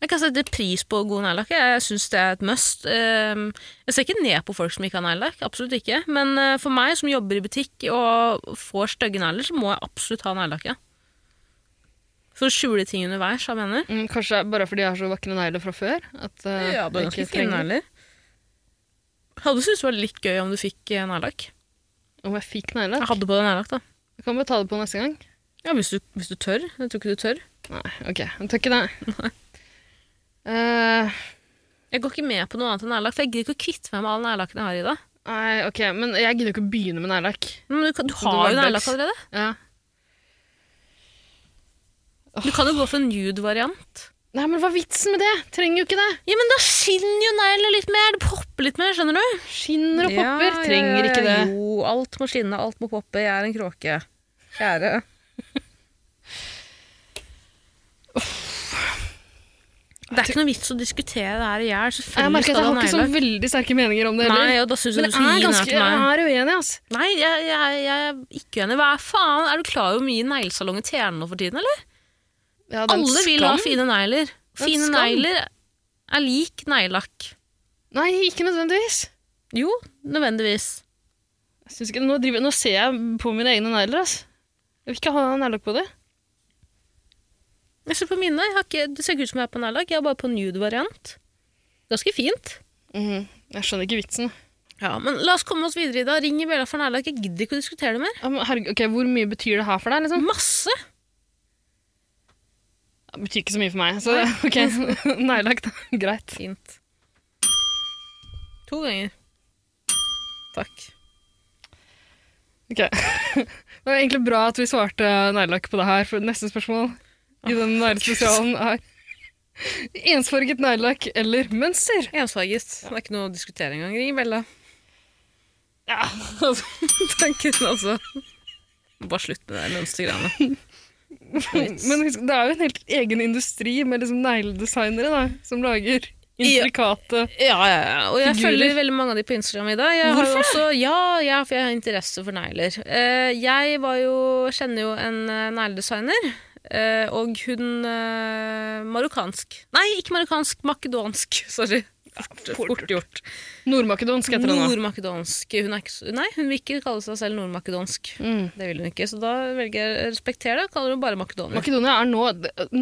Speaker 1: Jeg kan sette pris på god neglelakk. Jeg Jeg syns det er et must. Ehm, Jeg ser ikke ned på folk som ikke har neglelakk. Absolutt ikke. Men eh, for meg som jobber i butikk og får stygge negler, så må jeg absolutt ha neglelakk. ja. For å skjule ting underveis, jeg mener.
Speaker 3: Mm, kanskje det er bare fordi jeg har så vakre negler fra før. At, eh,
Speaker 1: Ja, du er
Speaker 3: jeg
Speaker 1: ganske
Speaker 3: ikke
Speaker 1: fin
Speaker 3: trenger-
Speaker 1: negler. Hadde syntes det var litt gøy om du fikk eh, neglelakk.
Speaker 3: Om jeg fikk negler?
Speaker 1: Jeg hadde på deg neglelakk, da.
Speaker 3: Jeg kan bare ta det på neste gang.
Speaker 1: Ja, hvis du, hvis du tør. Jeg tror ikke du tør.
Speaker 3: Nei, ok. Jeg tør ikke det. Eh,
Speaker 1: Jeg går ikke med på noe annet enn neglelakk, for jeg gidder ikke å kvitte meg med all neglelakken jeg har i dag.
Speaker 3: nei, ok, men jeg gidder ikke å begynne med neglelakk.
Speaker 1: Men du, kan- du
Speaker 3: Det var
Speaker 1: har jo
Speaker 3: dags.
Speaker 1: neglelakk allerede.
Speaker 3: Ja.
Speaker 1: Du kan jo gå for en nude-variant.
Speaker 3: Nei, men hva er vitsen med det? Trenger jo ikke det.
Speaker 1: Ja, men da skinner jo neglene litt mer. Det popper litt mer, skjønner du?
Speaker 3: Skinner og popper. Trenger ikke det.
Speaker 1: Jo, alt må skinne, alt må poppe. Jeg er en kråke. Det er ikke noe vits å diskutere det her i hjel.
Speaker 3: Jeg
Speaker 1: Selvfølgelig
Speaker 3: merker at
Speaker 1: skal
Speaker 3: jeg
Speaker 1: du ha
Speaker 3: har ikke så
Speaker 1: neglelakk.
Speaker 3: veldig sterke meninger om det
Speaker 1: Nei,
Speaker 3: heller.
Speaker 1: og da syns jeg du
Speaker 3: men
Speaker 1: skal
Speaker 3: jeg er
Speaker 1: gi den her
Speaker 3: ganske
Speaker 1: til meg.
Speaker 3: jeg er uenig, altså.
Speaker 1: Nei, jeg, jeg, jeg er ikke enig. Hva er faen? Er du klar over hvor mye neglesalong i Tjern nå for tiden, eller?
Speaker 3: Ja, det er en
Speaker 1: Alle vil ha
Speaker 3: skam.
Speaker 1: fine negler.
Speaker 3: er en
Speaker 1: Fine
Speaker 3: skam.
Speaker 1: negler er lik neglelakk.
Speaker 3: Nei, ikke nødvendigvis.
Speaker 1: Jo, nødvendigvis.
Speaker 3: Jeg synes ikke, nå, driver, nå ser jeg på mine egne negler, altså. Jeg vil ikke ha neglelakk på det.
Speaker 1: Jeg ser på mine. Jeg har ikke, det ser ikke ut som jeg er på nærlag. Jeg er bare på nude-variant. Ganske fint.
Speaker 3: Mhm. Jeg skjønner ikke vitsen.
Speaker 1: Ja, men La oss komme oss videre i dag. Ring i bjella for nærlag. Jeg gidder ikke å diskutere det mer.
Speaker 3: Ja, men Herregud, ok, Hvor mye betyr det her for deg? liksom?
Speaker 1: Masse!
Speaker 3: Det betyr ikke så mye for meg, så ok. Neglelakk, da. Greit.
Speaker 1: Fint. To ganger. Takk.
Speaker 3: Ok. Det var egentlig bra at vi svarte neglelakk på det her, for neste spørsmål i den neglespesialen er ensfarget neglelakk eller mønster.
Speaker 1: Ensfarget. Det er ikke noe å diskutere engang. Ring i bjella.
Speaker 3: Ja, altså,
Speaker 1: Tanken, altså. Bare slutt med det der mønstergreiene.
Speaker 3: Men husk, det er jo en helt egen industri med liksom negledesignere da, som lager
Speaker 1: Ja.
Speaker 3: intrikate
Speaker 1: Ja, ja, ja. Og jeg
Speaker 3: Figurer.
Speaker 1: følger veldig mange av de på Instagram i dag. Jeg Har jo også, ja, ja, for jeg har interesse for negler. Eh, jeg var jo, kjenner jo en eh, negledesigner, eh, og hun eh, marokkansk. Nei, ikke marokkansk, makedonsk. Sorry. Fort, fort gjort.
Speaker 3: Nordmakedonsk heter det nå.
Speaker 1: Nordmakedonsk. Hun, er ikke, så- nei, hun vil ikke kalle seg selv nordmakedonsk.
Speaker 3: Mm.
Speaker 1: Det vil hun ikke, så da velger jeg å respektere det og kaller hun bare makedoner.
Speaker 3: Makedonia er nå,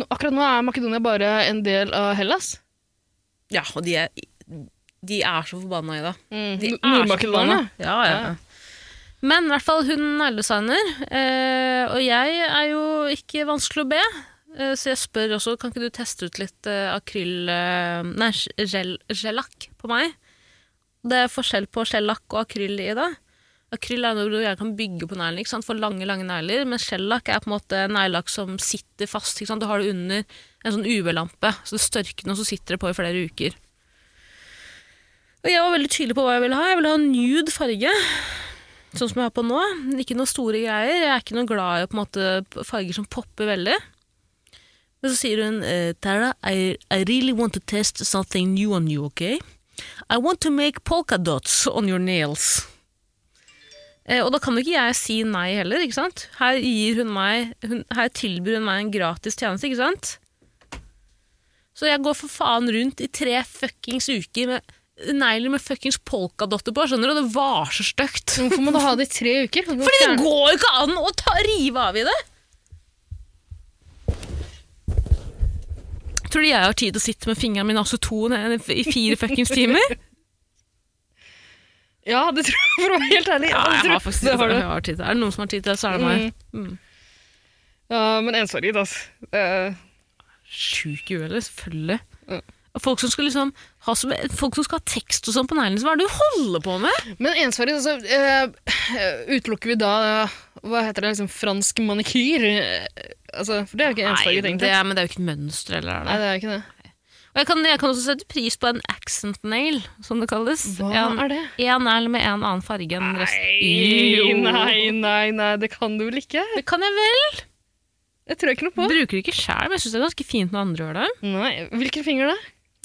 Speaker 3: akkurat nå er Makedonia bare en del av Hellas.
Speaker 1: Ja, og de er de er så forbanna i det. Mm. De
Speaker 3: N-
Speaker 1: er så forbanna.
Speaker 3: Nordmakedonia.
Speaker 1: Ja, ja, ja. Men i hvert fall hun er negledesigner, eh, og jeg er jo ikke vanskelig å be. eh, Så jeg spør også, kan ikke du teste ut litt eh, akryl... Eh, nei, gel, gelakk på meg? Det er forskjell på skjellakk og akryl i det. Akryl er noe du gjerne kan bygge på neglen, ikke sant? for lange lange negler, men skjellakk er på en måte neglelakk som sitter fast. Ikke sant? Du har det under en sånn UV-lampe, så du størker den, og så sitter det på i flere uker. Og jeg var veldig tydelig på hva jeg ville ha. Jeg ville ha nude farge, sånn som jeg har på nå. Ikke noen store greier. Jeg er ikke noe glad i på en måte, farger som popper veldig. Men så sier hun, eh, Tara, I, I really want to test something new on you, okay? I want to make polka dots on your nails. Eh, og da kan jo ikke jeg si nei heller, ikke sant? Her, gir hun meg, hun, her tilbyr hun meg en gratis tjeneste, ikke sant? Så jeg går for faen rundt i tre fuckings uker med negler med fuckings polkadotter på, skjønner du? Det var så stygt.
Speaker 3: Hvorfor må du ha det i tre uker? Kan du
Speaker 1: Fordi det
Speaker 3: fjerne-
Speaker 1: går jo ikke an å ta, rive av i det! Tror du jeg har tid til å sitte med fingrene mine aceton i fire fuckings timer?
Speaker 3: Ja, det tror jeg, for å være helt ærlig. Ja,
Speaker 1: Ja,
Speaker 3: det
Speaker 1: jeg
Speaker 3: tror
Speaker 1: har Mm. faktisk tid
Speaker 3: det
Speaker 1: til
Speaker 3: har
Speaker 1: det.
Speaker 3: du.
Speaker 1: Jeg har tid til det. Er det noen som har tid til det, så er det meg.
Speaker 3: Ja, men en sorry, altså. Eh,
Speaker 1: Sjuk i huet, eller? selvfølgelig.
Speaker 3: Mm.
Speaker 1: Og Folk som, skal liksom ha som, folk som skal ha tekst og sånn på neglene, hva er det du holder på med?
Speaker 3: Men ensvarig, altså, eh, utelukker vi da eh, Hva heter det? liksom Fransk manikyr? Eh, altså, for det er jo ikke ensvarig,
Speaker 1: Nei,
Speaker 3: tenkt.
Speaker 1: det, er- men det er jo ikke et mønster, eller er det?
Speaker 3: Nei, det er ikke det.
Speaker 1: Og jeg kan, jeg kan også sette pris på en accent nail, som det kalles.
Speaker 3: Hva
Speaker 1: en,
Speaker 3: er det?
Speaker 1: En negl med en annen farge enn
Speaker 3: Nei,
Speaker 1: resten.
Speaker 3: nei, nei, nei, det kan du vel ikke?
Speaker 1: Det kan jeg vel!
Speaker 3: Det tror jeg ikke noe på.
Speaker 1: Bruker det ikke sjæl, men jeg syns det er ganske fint når andre gjør det.
Speaker 3: Nei, Hvilken finger da?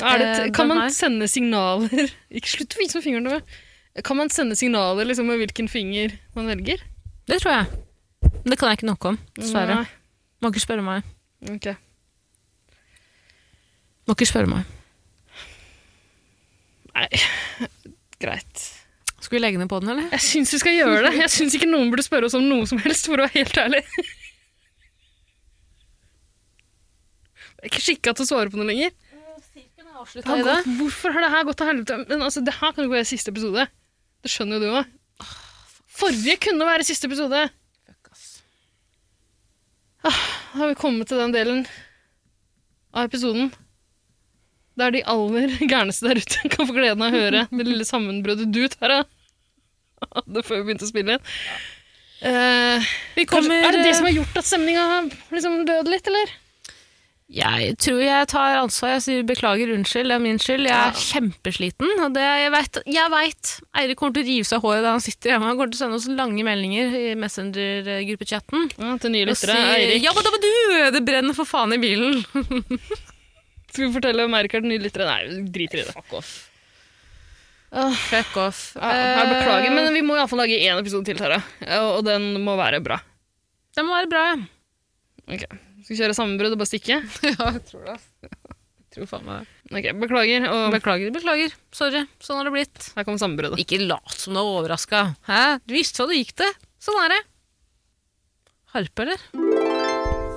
Speaker 3: Er det,
Speaker 1: Eh,
Speaker 3: t-
Speaker 1: den
Speaker 3: kan man
Speaker 1: her.
Speaker 3: sende signaler Ikke slutt å vise med fingeren, du. Kan man sende signaler liksom, med hvilken finger man velger?
Speaker 1: Det tror jeg. Men det kan jeg ikke noe om, dessverre.
Speaker 3: Nei.
Speaker 1: Må ikke spørre meg.
Speaker 3: Ok.
Speaker 1: Må ikke spørre meg.
Speaker 3: Greit.
Speaker 1: Skal vi legge ned på den, eller?
Speaker 3: Jeg syns vi skal gjøre det. Jeg syns ikke noen burde spørre oss om noe som helst, for å være helt ærlig. Jeg er ikke skikka til å svare på noe lenger. Det har gått, hvorfor har det her gått til helvete? Men altså, det her kan jo være siste episode. Det skjønner jo du òg. Forrige kunne være siste episode. Da har vi kommet til den delen av episoden der de aller gærneste der ute kan få gleden av å høre det lille sammenbruddet du tar av. Det før vi begynte å spille inn. Eh,
Speaker 1: Vi
Speaker 3: kanskje,
Speaker 1: kommer
Speaker 3: er det det som har gjort at stemninga har liksom død litt, eller?
Speaker 1: Jeg tror jeg tar ansvar. Jeg sier beklager, unnskyld, det er min skyld. Jeg er kjempesliten. Og det, jeg vet, jeg vet, Eirik kommer til å rive seg av håret der han sitter hjemme. Han kommer til å sende oss lange meldinger i Messenger-gruppechatten.
Speaker 3: Ja, til nye
Speaker 1: Og
Speaker 3: lyttere.
Speaker 1: si,
Speaker 3: Eirik,
Speaker 1: Ja, men da var du! Det brenner for faen i bilen.
Speaker 3: skal vi fortelle om Eirik er til nye lyttere? Nei, vi driter i det. Fuck off.
Speaker 1: Fuck off.
Speaker 3: Ja, jeg beklager,
Speaker 1: Eh.
Speaker 3: men vi må iallfall lage én episode til, Tara. Og og den må være bra.
Speaker 1: Det må være bra, ja.
Speaker 3: Ok, Skal vi kjøre sammenbrudd og bare stikke?
Speaker 1: ja jeg tror
Speaker 3: altså.
Speaker 1: det. Jeg tror faen meg det.
Speaker 3: Ok, Beklager. Og
Speaker 1: Beklager, beklager. Sorry. Sånn har det blitt.
Speaker 3: her kommer sammenbruddet.
Speaker 1: Ikke lat som du er overraska. Hæ? Du visste hva du gikk til. Sånn er det. Harpe, eller?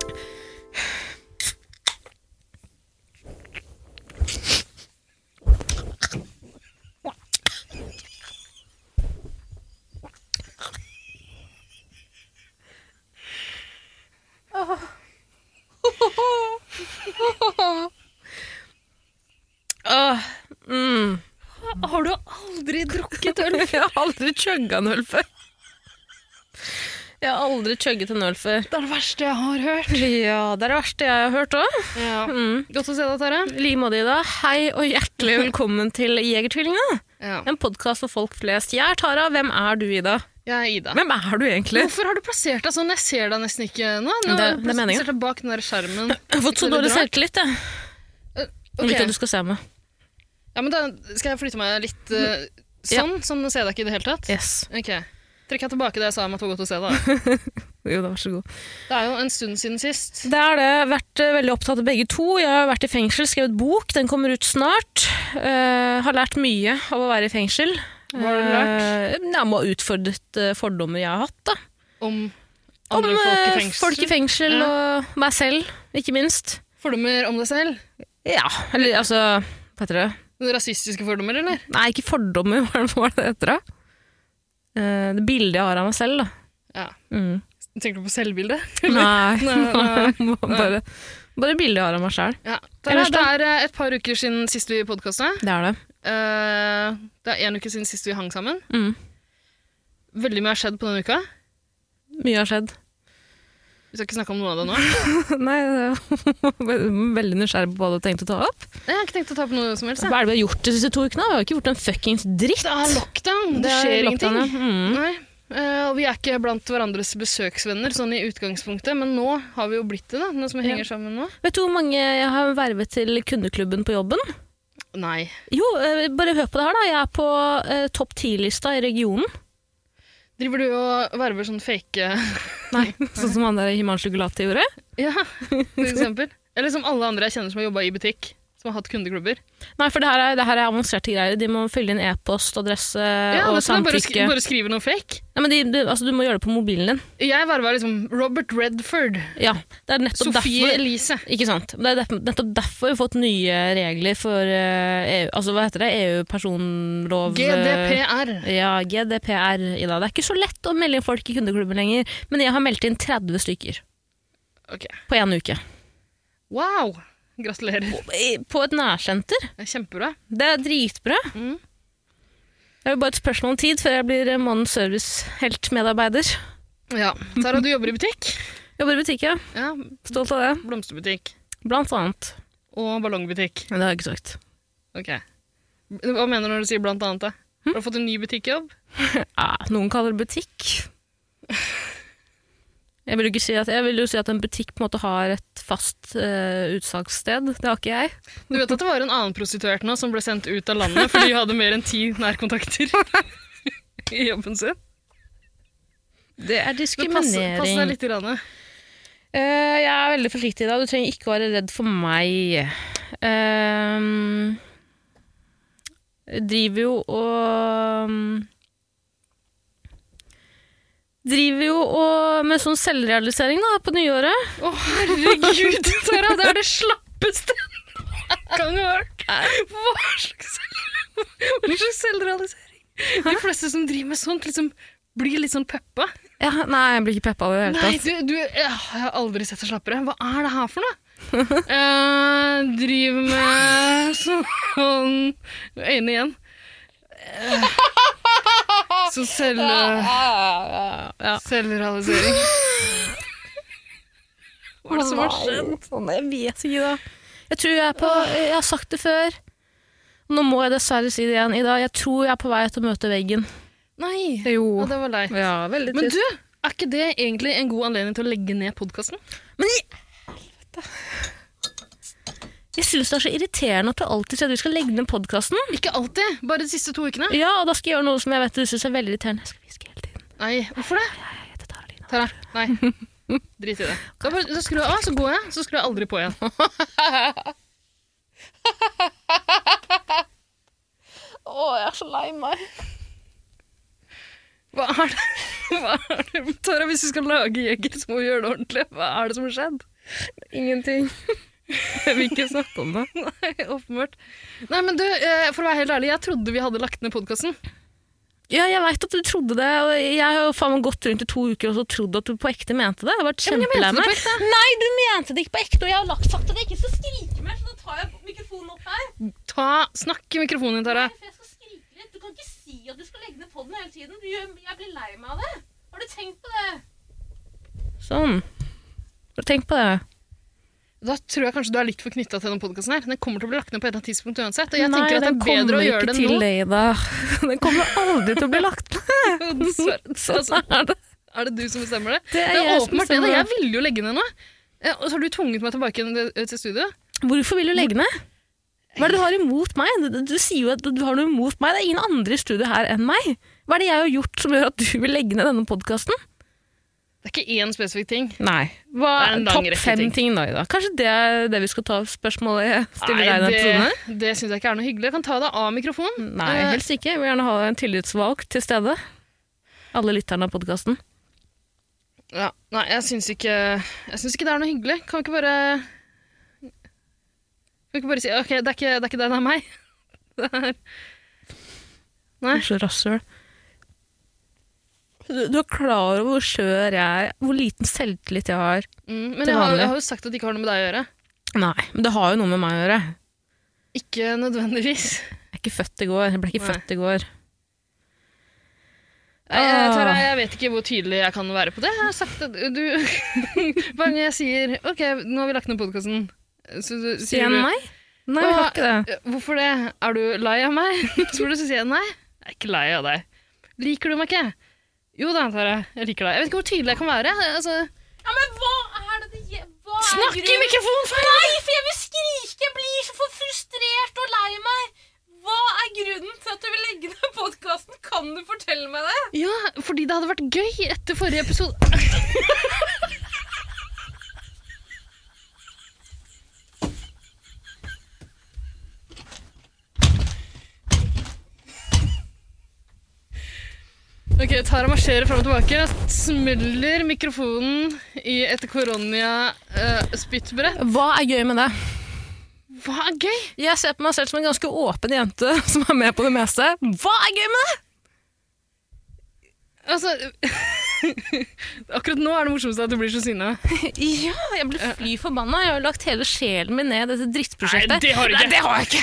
Speaker 1: Åh, mm.
Speaker 3: Har du aldri drukket
Speaker 1: Jeg har aldri chugga en øl før. Jeg har aldri chugget en øl før.
Speaker 3: Det er det verste jeg har hørt.
Speaker 1: Ja, det er det verste jeg har hørt Mm. òg.
Speaker 3: Godt å se deg, Tara.
Speaker 1: Limodi, da. Hei og hjertelig velkommen til Jegertvillingene. En podkast for folk flest. Jeg er Tara. Hvem er du, Ida?
Speaker 3: Jeg er Ida.
Speaker 1: Hvem er du egentlig?
Speaker 3: Hvorfor har du plassert deg sånn? Jeg ser deg nesten ikke nå.
Speaker 1: Det-
Speaker 3: Nå har du
Speaker 1: det er
Speaker 3: plassert
Speaker 1: meningen.
Speaker 3: deg bak den der skjermen.
Speaker 1: Jeg har fått så
Speaker 3: Det er
Speaker 1: dårlig
Speaker 3: litt rart.
Speaker 1: selvtillit, jeg. Jeg vet
Speaker 3: Ok.
Speaker 1: hva du skal se med.
Speaker 3: Ja, men da skal jeg flytte meg litt eh, sånn, sånn ser jeg deg ikke i det hele tatt.
Speaker 1: Yes.
Speaker 3: Ok. Trekker jeg tilbake det jeg sa om at det var godt å se deg.
Speaker 1: Jo da, vær så god.
Speaker 3: Det er jo en stund siden sist.
Speaker 1: Det er det. Vært eh, veldig opptatt av begge to. Jeg har vært i fengsel, skrevet bok. Den kommer ut snart. Eh, har lært mye av å være i fengsel.
Speaker 3: Hva har du lært?
Speaker 1: Eh, jeg må ha utfordret eh, fordommer jeg har hatt. da.
Speaker 3: Om andre
Speaker 1: om
Speaker 3: folk i
Speaker 1: eh,
Speaker 3: fengsel.
Speaker 1: folk i fengsel,
Speaker 3: Ja.
Speaker 1: og meg selv, ikke minst.
Speaker 3: Fordommer om deg selv.
Speaker 1: Ja, eller altså Hva heter det?
Speaker 3: Noen rasistiske fordommer, eller?
Speaker 1: Nei, ikke fordommer, hva var det det heter da? Eh, Det bildet jeg har av meg selv, da.
Speaker 3: Ja.
Speaker 1: Mm.
Speaker 3: Tenker du på selvbildet?
Speaker 1: Nei,
Speaker 3: Nei,
Speaker 1: bare, bare bildet jeg har av meg sjøl.
Speaker 3: Ja. Det,
Speaker 1: Ellers
Speaker 3: er, det er eh, et par uker siden sist vi podkasta.
Speaker 1: Det er det.
Speaker 3: det er én uke siden sist vi hang sammen.
Speaker 1: Mm.
Speaker 3: Veldig mye har skjedd på denne uka.
Speaker 1: Mye har skjedd.
Speaker 3: Vi skal ikke snakke om noe av det nå.
Speaker 1: Nei, det er- Veldig nysgjerrig på hva du tenkte å ta opp.
Speaker 3: Jeg har ikke tenkt å ta på noe som helst. jeg.
Speaker 1: Hva er det vi har gjort de siste to ukene? Vi har jo ikke gjort en fuckings dritt.
Speaker 3: Det er lockdown. Det,
Speaker 1: er
Speaker 3: skjer
Speaker 1: lockdown,
Speaker 3: ingenting.
Speaker 1: ja. Mm.
Speaker 3: Nei. Eh, og vi er ikke blant hverandres besøksvenner sånn i utgangspunktet, men nå har vi jo blitt det, da. Noe som henger sammen nå.
Speaker 1: Vet du hvor mange jeg har vervet til kundeklubben på jobben?
Speaker 3: Nei.
Speaker 1: Jo, eh, bare hør på det her, da. Jeg er på eh, topp ti-lista i regionen.
Speaker 3: Driver du og verver sånn fake
Speaker 1: Nei, sånn som han der i Himanshu Gulati gjorde.
Speaker 3: Ja, for eksempel. Eller som alle andre jeg kjenner som har jobba i butikk. Som har hatt kundeklubber.
Speaker 1: Nei, for det her er, det her er avanserte greier. De må fylle inn e-post, adresse
Speaker 3: Ja,
Speaker 1: og
Speaker 3: det som jeg bare, sk
Speaker 1: samtykke.
Speaker 3: bare skriver noe fake.
Speaker 1: Nei, men de, du, altså, du må gjøre det på mobilen din.
Speaker 3: Jeg verva liksom Robert Redford.
Speaker 1: Ja, det er nettopp
Speaker 3: Sofie
Speaker 1: derfor
Speaker 3: Elise.
Speaker 1: Ikke sant. Det er derfor- nettopp derfor vi har fått nye regler for eh, EU Altså, hva heter det? EU-personlov eh,
Speaker 3: GDPR.
Speaker 1: Ja, GDPR, Ida. Det er ikke så lett å melde inn folk i kundeklubben lenger, men jeg har meldt inn 30 stykker
Speaker 3: Ok.
Speaker 1: på én uke.
Speaker 3: Wow! Gratulerer.
Speaker 1: I- På et nærsenter.
Speaker 3: Det er kjempebra.
Speaker 1: Det er dritbra.
Speaker 3: Mm.
Speaker 1: Det er jo bare et spørsmål om tid før jeg blir eh, Månedens serviceheltmedarbeider.
Speaker 3: Ja. Tara, du jobber i butikk.
Speaker 1: Jobber i butikk, ja.
Speaker 3: Ja,
Speaker 1: Stolt av det.
Speaker 3: Blomsterbutikk.
Speaker 1: Blant annet.
Speaker 3: Og ballongbutikk.
Speaker 1: Men det har jeg ikke sagt.
Speaker 3: Ok. Hva mener du når du sier blant annet? da? Har du fått en ny butikkjobb?
Speaker 1: Ja, noen kaller det butikk. Jeg vil, jo ikke si at, jeg vil jo si at en butikk på en måte har et fast eh, utsalgssted. Det har ikke jeg.
Speaker 3: Du vet at det var en annen prostituert nå som ble sendt ut av landet fordi hun hadde mer enn ti nærkontakter i jobben sin?
Speaker 1: Det er
Speaker 3: Det passer,
Speaker 1: diskriminering.
Speaker 3: passer deg litt. Grann.
Speaker 1: Eh, jeg er veldig forsiktig i dag. Du trenger ikke å være redd for meg. Ehm, jeg driver jo og Driver jo og med sånn selvrealisering da, på nyåret.
Speaker 3: Å, herregud, Tara, det er det slappeste jeg kan ha hørt. Hva slags, hva slags selvrealisering? De fleste som driver med sånt, liksom blir litt sånn peppa.
Speaker 1: Ja, nei, jeg blir ikke peppa av det i det hele
Speaker 3: Nei,
Speaker 1: tatt.
Speaker 3: du, du ja, jeg har aldri sett deg slappere. Hva er det her for noe? Eh, driver med sånn Øynene igjen. Eh, sånn selv,
Speaker 1: Ja.
Speaker 3: selvrealisering. Hva er det som har skjedd?
Speaker 1: Sånn, jeg vet ikke, da. Jeg tror jeg er på Jeg har sagt det før. Nå må jeg dessverre si det igjen i dag. Jeg tror jeg er på vei til å møte veggen.
Speaker 3: Nei,
Speaker 1: Jo.
Speaker 3: Ja, det var lei.
Speaker 1: Ja, veldig
Speaker 3: Men du, er ikke det egentlig en god anledning til å legge ned podkasten?
Speaker 1: Jeg syns det er så irriterende at du alltid sier at vi skal legge ned podkasten.
Speaker 3: Ikke alltid, bare de siste to ukene.
Speaker 1: Ja, og da skal jeg gjøre noe som jeg vet du syns er veldig irriterende. Jeg skal hviske hele tiden.
Speaker 3: Nei, hvorfor det?
Speaker 1: Jeg heter Tara Lina.
Speaker 3: Tara, nei. Drit i det. Da, bare, da skrur jeg av, så går jeg, så skrur jeg aldri på igjen.
Speaker 1: Å, jeg er så lei meg.
Speaker 3: Hva er det? Hva er det? Tara, hvis vi skal lage jeger, så må vi gjøre det ordentlig. Hva er det som har skjedd?
Speaker 1: Ingenting. Jeg vil ikke snakke om det.
Speaker 3: Nei, åpenbart. Nei, men du, eh, for å være helt ærlig, jeg trodde vi hadde lagt ned podkasten.
Speaker 1: Ja, jeg veit at du trodde det. Og jeg har jo faen meg gått rundt i to uker og så trodd at du på ekte mente det. Jeg har vært kjempelei meg. Nei, du mente det ikke på ekte, og jeg har lagt sagt at jeg ikke skal skrike mer, så da tar jeg mikrofonen opp her.
Speaker 3: Ta, snakk i mikrofonen din, Tara.
Speaker 1: For jeg skal skrike litt. Du kan ikke si at du skal legge ned podden hele tiden. Du gjør- Jeg blir lei meg av det. Har du tenkt på det? Sånn. Har du tenkt på det?
Speaker 3: Da tror jeg kanskje du er litt for knytta til denne podkasten her. Den kommer til å bli lagt ned på et eller annet tidspunkt uansett. Og jeg
Speaker 1: Nei,
Speaker 3: tenker at det
Speaker 1: den
Speaker 3: er bedre å
Speaker 1: kommer
Speaker 3: gjøre
Speaker 1: ikke
Speaker 3: det
Speaker 1: til
Speaker 3: nå.
Speaker 1: deg, Ida. Den kommer aldri til å bli lagt ned.
Speaker 3: Jo, Dessverre. Altså,
Speaker 1: Sånn er det.
Speaker 3: er det du som bestemmer det?
Speaker 1: Det er
Speaker 3: det
Speaker 1: jeg
Speaker 3: er
Speaker 1: som
Speaker 3: åpenbart det. da.
Speaker 1: bestemmer
Speaker 3: Jeg ville jo legge ned nå. Eh, Og så har du tvunget meg tilbake igjen til- til studio.
Speaker 1: Hvorfor vil du legge ned? Hva er det du har imot meg? Du, du, du sier jo at du har noe imot meg. Det er ingen andre i studio her enn meg. Hva er det jeg har gjort som gjør at du vil legge ned denne podkasten?
Speaker 3: Det er ikke én spesifikk ting.
Speaker 1: Nei. Hva,
Speaker 3: Det er en lang
Speaker 1: topp
Speaker 3: rekke
Speaker 1: fem
Speaker 3: ting.
Speaker 1: ting. da, Ida. Kanskje det er det vi skal ta opp spørsmålet jeg stiller
Speaker 3: Nei,
Speaker 1: deg i den episoden? her?
Speaker 3: det, det syns jeg ikke er noe hyggelig. Jeg kan ta deg av mikrofonen.
Speaker 1: Nei,
Speaker 3: Eh,
Speaker 1: helst ikke. Jeg vil gjerne ha en tillitsvalgt til stede. Alle lytterne av podkasten.
Speaker 3: ja. Nei, jeg syns ikke, jeg syns ikke det er noe hyggelig. Kan vi ikke bare Kan vi ikke bare si OK, det er ikke det, er ikke deg, det er meg. Det er
Speaker 1: Du er så rasshøl. Eh. Du, du er klar over hvor skjør jeg er, hvor liten selvtillit jeg har.
Speaker 3: Mm, men
Speaker 1: Til
Speaker 3: jeg har,
Speaker 1: vanlig.
Speaker 3: jeg har jo sagt at det ikke har noe med deg å gjøre.
Speaker 1: Nei, men det har jo noe med meg å gjøre.
Speaker 3: Ikke nødvendigvis.
Speaker 1: Jeg er ikke født i går. Jeg ble ikke
Speaker 3: Nei.
Speaker 1: født i går.
Speaker 3: Nei, Jeg,
Speaker 1: Ah.
Speaker 3: Tara, jeg vet ikke hvor tydelig jeg kan være på det. Jeg har sagt at du Hver gang jeg sier OK, nå har vi lagt ned podkasten, så så
Speaker 1: Sier
Speaker 3: sier
Speaker 1: jeg
Speaker 3: du
Speaker 1: nei? Nei, vi har
Speaker 3: «Åh,
Speaker 1: ikke det.
Speaker 3: Hvorfor det? Er du lei av meg? Spør du, så sier jeg nei. Jeg er ikke lei av deg. Liker du meg ikke? Jo da, Tara. Jeg liker deg. Jeg vet ikke hvor tydelig jeg kan være. Altså,
Speaker 5: Ja, men hva er det det gje- hva er
Speaker 3: snakk i
Speaker 5: grunnen-
Speaker 3: mikrofonen! for-
Speaker 5: Nei, for jeg vil skrike! Jeg blir så for frustrert og lei meg! Hva er grunnen til at du vil legge ned podkasten? Kan du fortelle meg det?
Speaker 3: Ja, fordi det hadde vært gøy etter forrige episode. Ok, Tara marsjerer fram og tilbake, smeller mikrofonen i et eh, koronia-spyttbrett.
Speaker 1: Hva er gøy med det?
Speaker 3: Hva er gøy?
Speaker 1: Jeg ser på meg selv som en ganske åpen jente som er med på det meste. Hva er gøy med det?
Speaker 3: Altså Akkurat nå er det morsomste at du blir så sinna.
Speaker 1: Ja, jeg ble fly forbanna. Jeg har lagt hele sjelen min ned i dette drittprosjektet.
Speaker 3: Eh, Nei, det har du ikke.
Speaker 1: Nei, det har jeg ikke. Det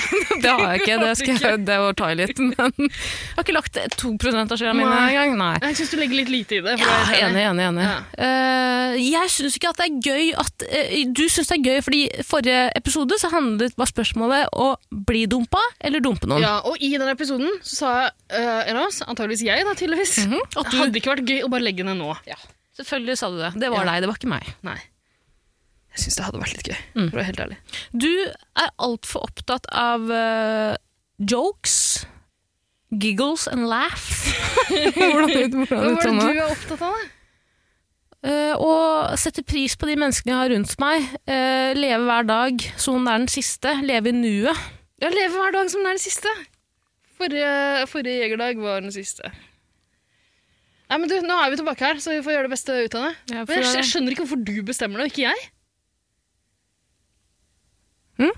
Speaker 1: har jeg ikke. Det, skal jeg, det var toilet, men jeg har ikke lagt 2 av sjela mi
Speaker 3: Nei.
Speaker 1: engang. Nei.
Speaker 3: Jeg syns du legger litt lite i det. for
Speaker 1: Ja,
Speaker 3: det er irriterende.
Speaker 1: enig, enig. enig.
Speaker 3: Ja.
Speaker 1: Eh, jeg syns ikke at det er gøy at eh, Du syns det er gøy, fordi i forrige episode så handlet var spørsmålet å bli dumpa eller dumpe noen.
Speaker 3: Ja, og i den episoden så sa eh, en av oss, antageligvis jeg da, tydeligvis,
Speaker 1: Mhm. At du,
Speaker 3: hadde det ikke vært gøy å bare legge ned nå.
Speaker 1: selvfølgelig sa du det. Det var
Speaker 3: Ja.
Speaker 1: deg, det var ikke meg.
Speaker 3: Nei. Jeg syns det hadde vært litt gøy,
Speaker 1: Mm.
Speaker 3: for å være helt ærlig.
Speaker 1: Du er altfor opptatt av eh, jokes, giggles and laugh. hvordan hvordan
Speaker 3: Men Hva er
Speaker 1: uttaler jeg
Speaker 3: det
Speaker 1: det?
Speaker 3: du er opptatt av, da?
Speaker 1: Eh, og sette pris på de menneskene jeg har rundt meg. Eh, leve hver dag som om det er den siste. Leve i nuet.
Speaker 3: Ja, leve hver dag som den er den siste. Forrige, forrige jegerdag var den siste. Nei, men du, Nå er vi tilbake her, så vi får gjøre det beste ut av det.
Speaker 1: Ja,
Speaker 3: Men jeg, jeg skjønner ikke hvorfor du bestemmer det, og ikke jeg.
Speaker 1: Hm?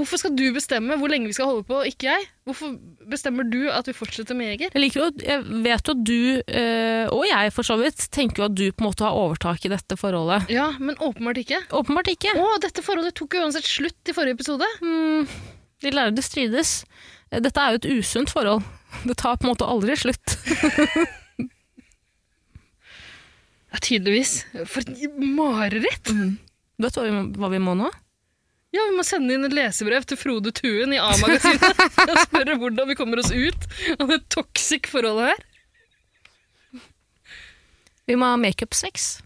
Speaker 3: Hvorfor skal du bestemme hvor lenge vi skal holde på, og ikke jeg? Hvorfor bestemmer du at vi fortsetter med jeger?
Speaker 1: Jeg, liker jo, jeg vet jo at du, eh, og jeg for så vidt, tenker jo at du på en måte har overtak i dette forholdet.
Speaker 3: Ja, men åpenbart ikke.
Speaker 1: Åpenbart ikke.
Speaker 3: Å, dette forholdet tok jo uansett slutt i forrige episode.
Speaker 1: Mm, de lærde strides. Eh, Dette er jo et usunt forhold. Det tar på en måte aldri slutt.
Speaker 3: Ja, tydeligvis. For et mareritt!
Speaker 1: Vet du hva vi, må- hva vi må nå?
Speaker 3: Ja, vi må sende inn et lesebrev til Frode Tuen i A-magasinet og spørre hvordan vi kommer oss ut av det toxic forholdet her.
Speaker 1: Vi må ha makeup-sex.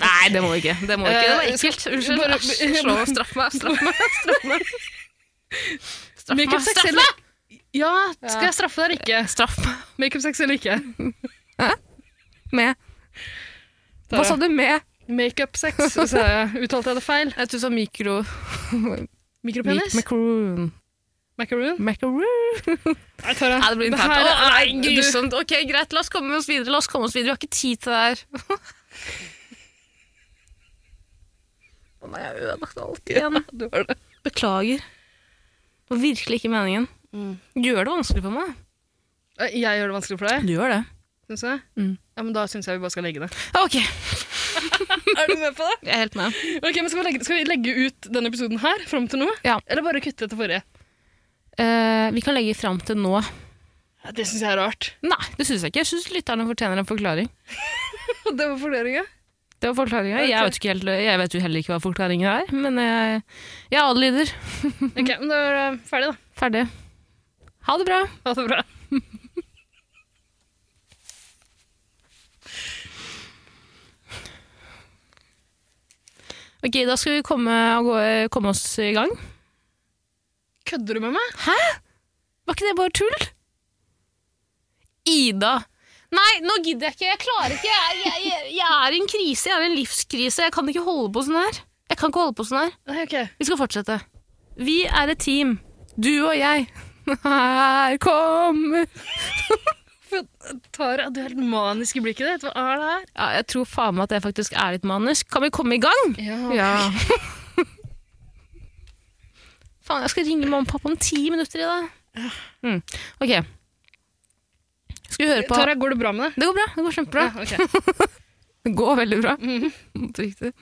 Speaker 1: Nei, det må vi ikke. Det må vi ikke. Det var ekkelt. Unnskyld.
Speaker 3: Bare-
Speaker 1: Æsj, slå- straff meg. Straff meg. Straff meg. Straff meg.
Speaker 3: Makeup-sex
Speaker 1: Straff
Speaker 3: eller-
Speaker 1: meg.
Speaker 3: Ja, skal jeg straffe deg eller ikke?
Speaker 1: Straff meg.
Speaker 3: Makeup-sex eller ikke?
Speaker 1: Med. Hva sa du med?
Speaker 3: Makeup-sex, sa jeg. Uttalte jeg det feil?
Speaker 1: Jeg tror du sa mikro...
Speaker 3: Mikropenis?
Speaker 1: Macaroon.
Speaker 3: Macaroon?
Speaker 1: Macaroon.
Speaker 3: Nei, Tara.
Speaker 1: Nei, det blir internt.
Speaker 3: her
Speaker 1: Å, ah!
Speaker 3: er-
Speaker 1: nei, grusomt. Ok, greit, la oss komme oss videre. La oss komme oss videre. Vi har ikke tid til det her. Å nei, jeg har ødelagt alt igjen.
Speaker 3: Du, du har det.
Speaker 1: Beklager. Det var virkelig ikke meningen.
Speaker 3: Mm.
Speaker 1: Du gjør det vanskelig for meg.
Speaker 3: Eh, Jeg gjør det vanskelig for deg,
Speaker 1: Du gjør det.
Speaker 3: syns jeg.
Speaker 1: Mm.
Speaker 3: Ja, men da syns jeg vi bare skal legge det.
Speaker 1: Ok,
Speaker 3: Er du med på det?
Speaker 1: jeg er helt med.
Speaker 3: Ok, men skal vi legge, skal vi legge ut denne episoden her fram til nå?
Speaker 1: Ja.
Speaker 3: Eller bare kutte etter forrige?
Speaker 1: Eh, vi kan legge fram til nå.
Speaker 3: Ja, det syns jeg er rart.
Speaker 1: Nei, det syns jeg ikke. Jeg syns lytterne fortjener en forklaring.
Speaker 3: det var fordelinga.
Speaker 1: Det var forklaringa. Jeg,
Speaker 3: Ok.
Speaker 1: vet ikke helt- jeg vet jo heller ikke hva forklaringen er, men jeg, jeg adlyder. Mhm.
Speaker 3: Ok, men da er det ferdig, da.
Speaker 1: Ferdig. Ha det bra.
Speaker 3: Ha det bra.
Speaker 1: Ok, da skal vi komme, og gå, komme oss i gang.
Speaker 3: Kødder du med meg?
Speaker 1: Var ikke det bare tull? Ida. Nei, nå gidder jeg ikke. Jeg klarer ikke. Jeg, jeg, jeg, jeg er i en krise. Jeg er i en livskrise. Jeg kan ikke holde på sånn her. Jeg kan ikke holde på sånn her.
Speaker 3: Nei, ok.
Speaker 1: Vi skal fortsette. Vi er et team. Du og jeg. Her kommer
Speaker 3: Tara, du er helt manisk i blikket ditt. Hva er det her?
Speaker 1: ja, Jeg tror faen meg at jeg faktisk er litt manisk. Kan vi komme i gang?
Speaker 3: Ja.
Speaker 1: Ja. faen, jeg skal ringe mamma og pappa om ti minutter i dag. Mm. Ok. Skal vi høre på
Speaker 3: Tara, går det bra med deg?
Speaker 1: Det går bra. Det går kjempebra.
Speaker 3: Ja, ok.
Speaker 1: Det går veldig bra.
Speaker 3: Mhm.
Speaker 1: Helt Riktig.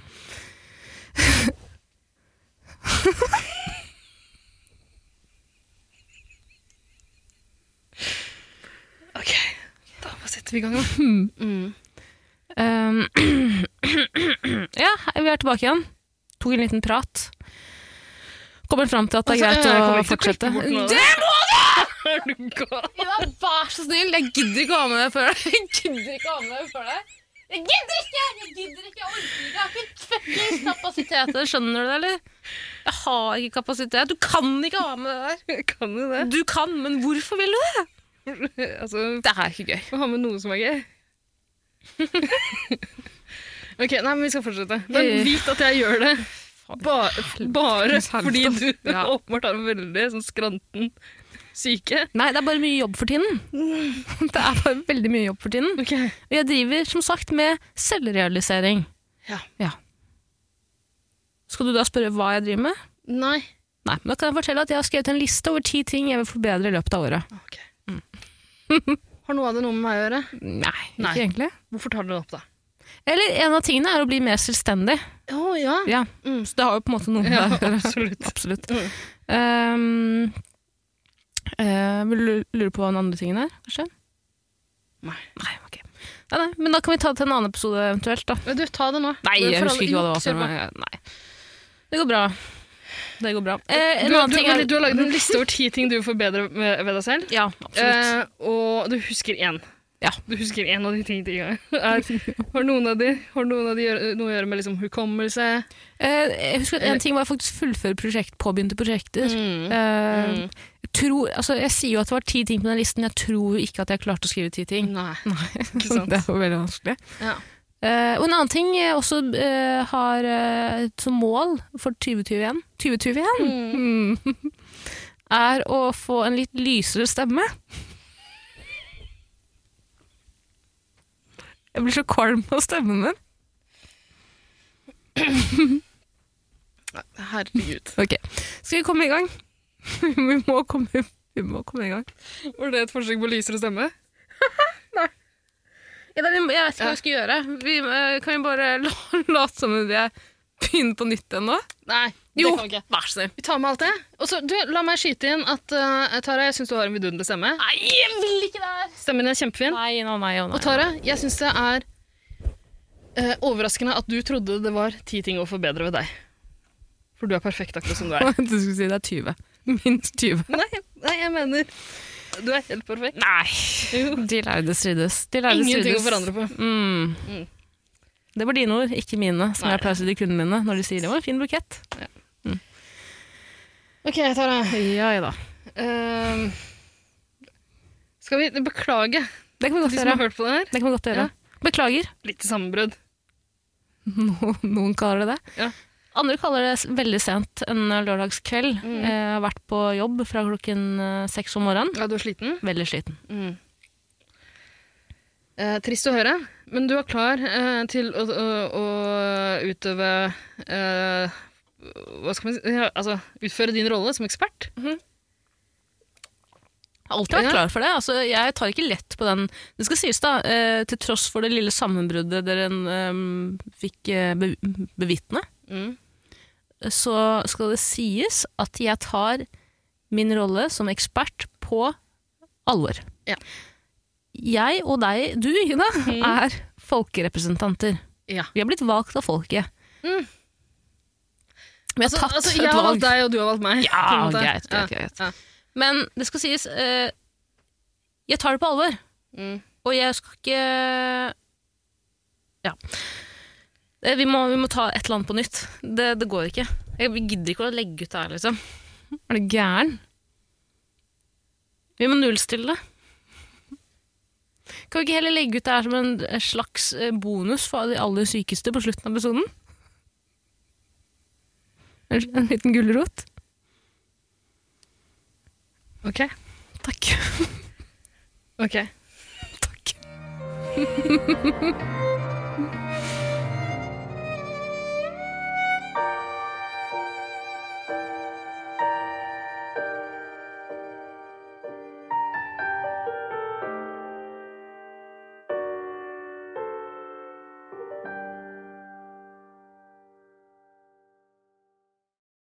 Speaker 3: Ok, da bare setter vi i gang da. Mm.
Speaker 1: Um, ja, hei, vi er tilbake igjen. Tok en liten prat. Kommer fram til at det er
Speaker 3: Altså, jeg kommer
Speaker 1: greit å
Speaker 3: ikke til å
Speaker 1: fortsette.
Speaker 3: klippe bort noe av
Speaker 1: Det må
Speaker 3: Er du gal?
Speaker 1: Ida, vær så snill! Altså, Jeg gidder ikke å ha med det før deg. Jeg gidder ikke å ha med det før deg.
Speaker 5: Jeg gidder ikke! Jeg gidder ikke, jeg orker ikke. Jeg har ikke
Speaker 1: Fuckings kapasitet til det, skjønner du det, eller? Jeg har ikke kapasitet. Du kan ikke ha med det der.
Speaker 3: Kan du det?
Speaker 1: Du kan, men hvorfor vil du det?
Speaker 3: altså,
Speaker 1: Det er ikke gøy.
Speaker 3: må ha med noe som er gøy. ok, nei, men vi skal fortsette. Men
Speaker 1: Eh.
Speaker 3: vit at jeg gjør det. Ba bare
Speaker 1: Helvete.
Speaker 3: fordi du
Speaker 1: Ja.
Speaker 3: åpenbart har en veldig sånn skranten syke.
Speaker 1: Nei, det er bare mye jobb for tiden. Det er bare veldig mye jobb for tiden.
Speaker 3: Ok.
Speaker 1: Og jeg driver som sagt med selvrealisering.
Speaker 3: Ja.
Speaker 1: Skal du da spørre hva jeg driver med?
Speaker 3: Nei.
Speaker 1: Nei, men da kan jeg fortelle at jeg har skrevet en liste over ti ting jeg vil forbedre i løpet av året.
Speaker 3: Ok. har noe av det noe med meg å gjøre?
Speaker 1: Nei, ikke
Speaker 3: Nei.
Speaker 1: egentlig.
Speaker 3: Hvorfor tar dere det opp da?
Speaker 1: Eller en av tingene er å bli mer selvstendig.
Speaker 3: Å, ja.
Speaker 1: Ja,
Speaker 3: Mm.
Speaker 1: Så det har jo på en måte noe med
Speaker 3: Ja,
Speaker 1: det å gjøre.
Speaker 3: absolutt.
Speaker 1: Absolutt.
Speaker 3: Mm.
Speaker 1: Um, eh, vil du lure på hva den andre tingen er, kanskje?
Speaker 3: Nei.
Speaker 1: Nei, ok. Nei, nei, men da kan vi ta det til en annen episode eventuelt, da.
Speaker 3: Men du, ta det nå.
Speaker 1: Nei,
Speaker 3: For
Speaker 1: jeg
Speaker 3: alle-
Speaker 1: husker ikke hva det
Speaker 3: Jo,
Speaker 1: var. For
Speaker 3: kjør på.
Speaker 1: meg. Nei. Det går bra. Det går bra. Eh,
Speaker 3: Du,
Speaker 1: en
Speaker 3: du,
Speaker 1: annen ting
Speaker 3: men
Speaker 1: er
Speaker 3: du har laget en liste over ti ting du vil forbedre med- ved deg selv.
Speaker 1: Ja, absolutt.
Speaker 3: Eh, og du husker én.
Speaker 1: Ja.
Speaker 3: Du husker én av de tingene. Er, har noen av de, har noen av de gjøre, noe å gjøre med liksom, hukommelse?
Speaker 1: Eh, jeg husker at en ting var faktisk fullføre prosjekt, påbegynte prosjekter. Eh,
Speaker 3: Mm.
Speaker 1: tro, altså, jeg sier jo at det var ti ting på den listen, jeg tror jo ikke at jeg klarte å skrive ti ting.
Speaker 3: Mm. Nei. Ikke sant?
Speaker 1: det er jo veldig vanskelig.
Speaker 3: Ja.
Speaker 1: Eh, og en annen ting jeg også eh, har eh, som mål for 2021, 2021 Mm. er å få en litt lysere stemme. Jeg blir så kvalm av stemmen min.
Speaker 3: Herregud.
Speaker 1: Ok, Skal vi komme i gang? vi, må komme, vi må komme i gang.
Speaker 3: Var det et forsøk på lysere stemme?
Speaker 1: Ja, da, vi må- jeg vet ikke hva vi skal gjøre. Vi, eh, kan vi bare la- late som om vi er- begynner på nytt igjen nå?
Speaker 3: Nei.
Speaker 1: Jo,
Speaker 3: Det kan vi ikke.
Speaker 1: vær så snill.
Speaker 3: Vi tar med alt det. Og så, du, La meg skyte inn at eh, Tara, jeg syns du har en vidunderlig stemme.
Speaker 1: Nei, jeg vil ikke det!
Speaker 3: Stemmen din er kjempefin.
Speaker 1: Nei, nei, nei, nei.
Speaker 3: Og Tara, jeg syns det er eh, overraskende at du trodde det var ti ting å forbedre ved deg. For du er perfekt akkurat som du er.
Speaker 1: Du skulle si det er 20. Minst 20.
Speaker 3: nei, nei, jeg mener Du er helt perfekt.
Speaker 1: Nei!
Speaker 3: Jo.
Speaker 1: De lærde strides. De lærde
Speaker 3: Ingenting å
Speaker 1: strides.
Speaker 3: forandre på.
Speaker 1: Mm.
Speaker 3: Mm.
Speaker 1: Det var dine ord, ikke mine, som
Speaker 3: Nei.
Speaker 1: jeg pleier å si til kundene mine når de sier det var en fin bukett.
Speaker 3: OK, Tara.
Speaker 1: Ja, ja da.
Speaker 3: Ehm, skal vi beklage
Speaker 1: Det kan vi
Speaker 3: de
Speaker 1: godt
Speaker 3: som
Speaker 1: gjøre.
Speaker 3: har hørt på det her?
Speaker 1: Det kan vi godt gjøre.
Speaker 3: Ja.
Speaker 1: Beklager.
Speaker 3: Litt sammenbrudd.
Speaker 1: No, noen kaller det det.
Speaker 3: Ja.
Speaker 1: Andre kaller det s- veldig sent en lørdagskveld.
Speaker 3: Mm.
Speaker 1: Eh, Jeg har vært på jobb fra klokken eh, seks om morgenen.
Speaker 3: Ja, du er sliten?
Speaker 1: Veldig sliten.
Speaker 3: Mm. Eh, trist å høre, men du er klar eh, til å, å, å utøve eh, Hva skal man si ja, Altså utføre din rolle som ekspert.
Speaker 1: Jeg har alltid vært
Speaker 3: Ja.
Speaker 1: klar for det. Altså, jeg tar ikke lett på den. Det skal sies da, eh, til tross for det lille sammenbruddet dere eh, fikk eh, be bevitne,
Speaker 3: Mm.
Speaker 1: så skal det sies at jeg tar min rolle som ekspert på alvor.
Speaker 3: Ja. Mm.
Speaker 1: Jeg og deg, du Ida, er folkerepresentanter.
Speaker 3: Ja.
Speaker 1: Vi har blitt valgt av folket.
Speaker 3: Mm.
Speaker 1: Vi har
Speaker 3: Altså,
Speaker 1: tatt
Speaker 3: altså,
Speaker 1: et
Speaker 3: jeg har valgt
Speaker 1: valg.
Speaker 3: deg, og du har valgt meg.
Speaker 1: Ja,
Speaker 3: på en måte.
Speaker 1: greit, greit,
Speaker 3: Ja,
Speaker 1: greit.
Speaker 3: ja.
Speaker 1: Men det skal sies, eh, jeg tar det på alvor.
Speaker 3: Mm.
Speaker 1: Og jeg skal ikke Ja. Eh, Vi må, vi må ta et eller annet på nytt. Det, det går ikke. Jeg vi gidder ikke å legge ut det her, liksom. Er du gæren? Vi må nullstille det. Kan vi ikke heller legge ut det her som en slags eh, bonus for de aller sykeste på slutten av episoden? En en liten gulrot?
Speaker 3: Ok.
Speaker 1: Takk.
Speaker 3: ok.
Speaker 1: Takk.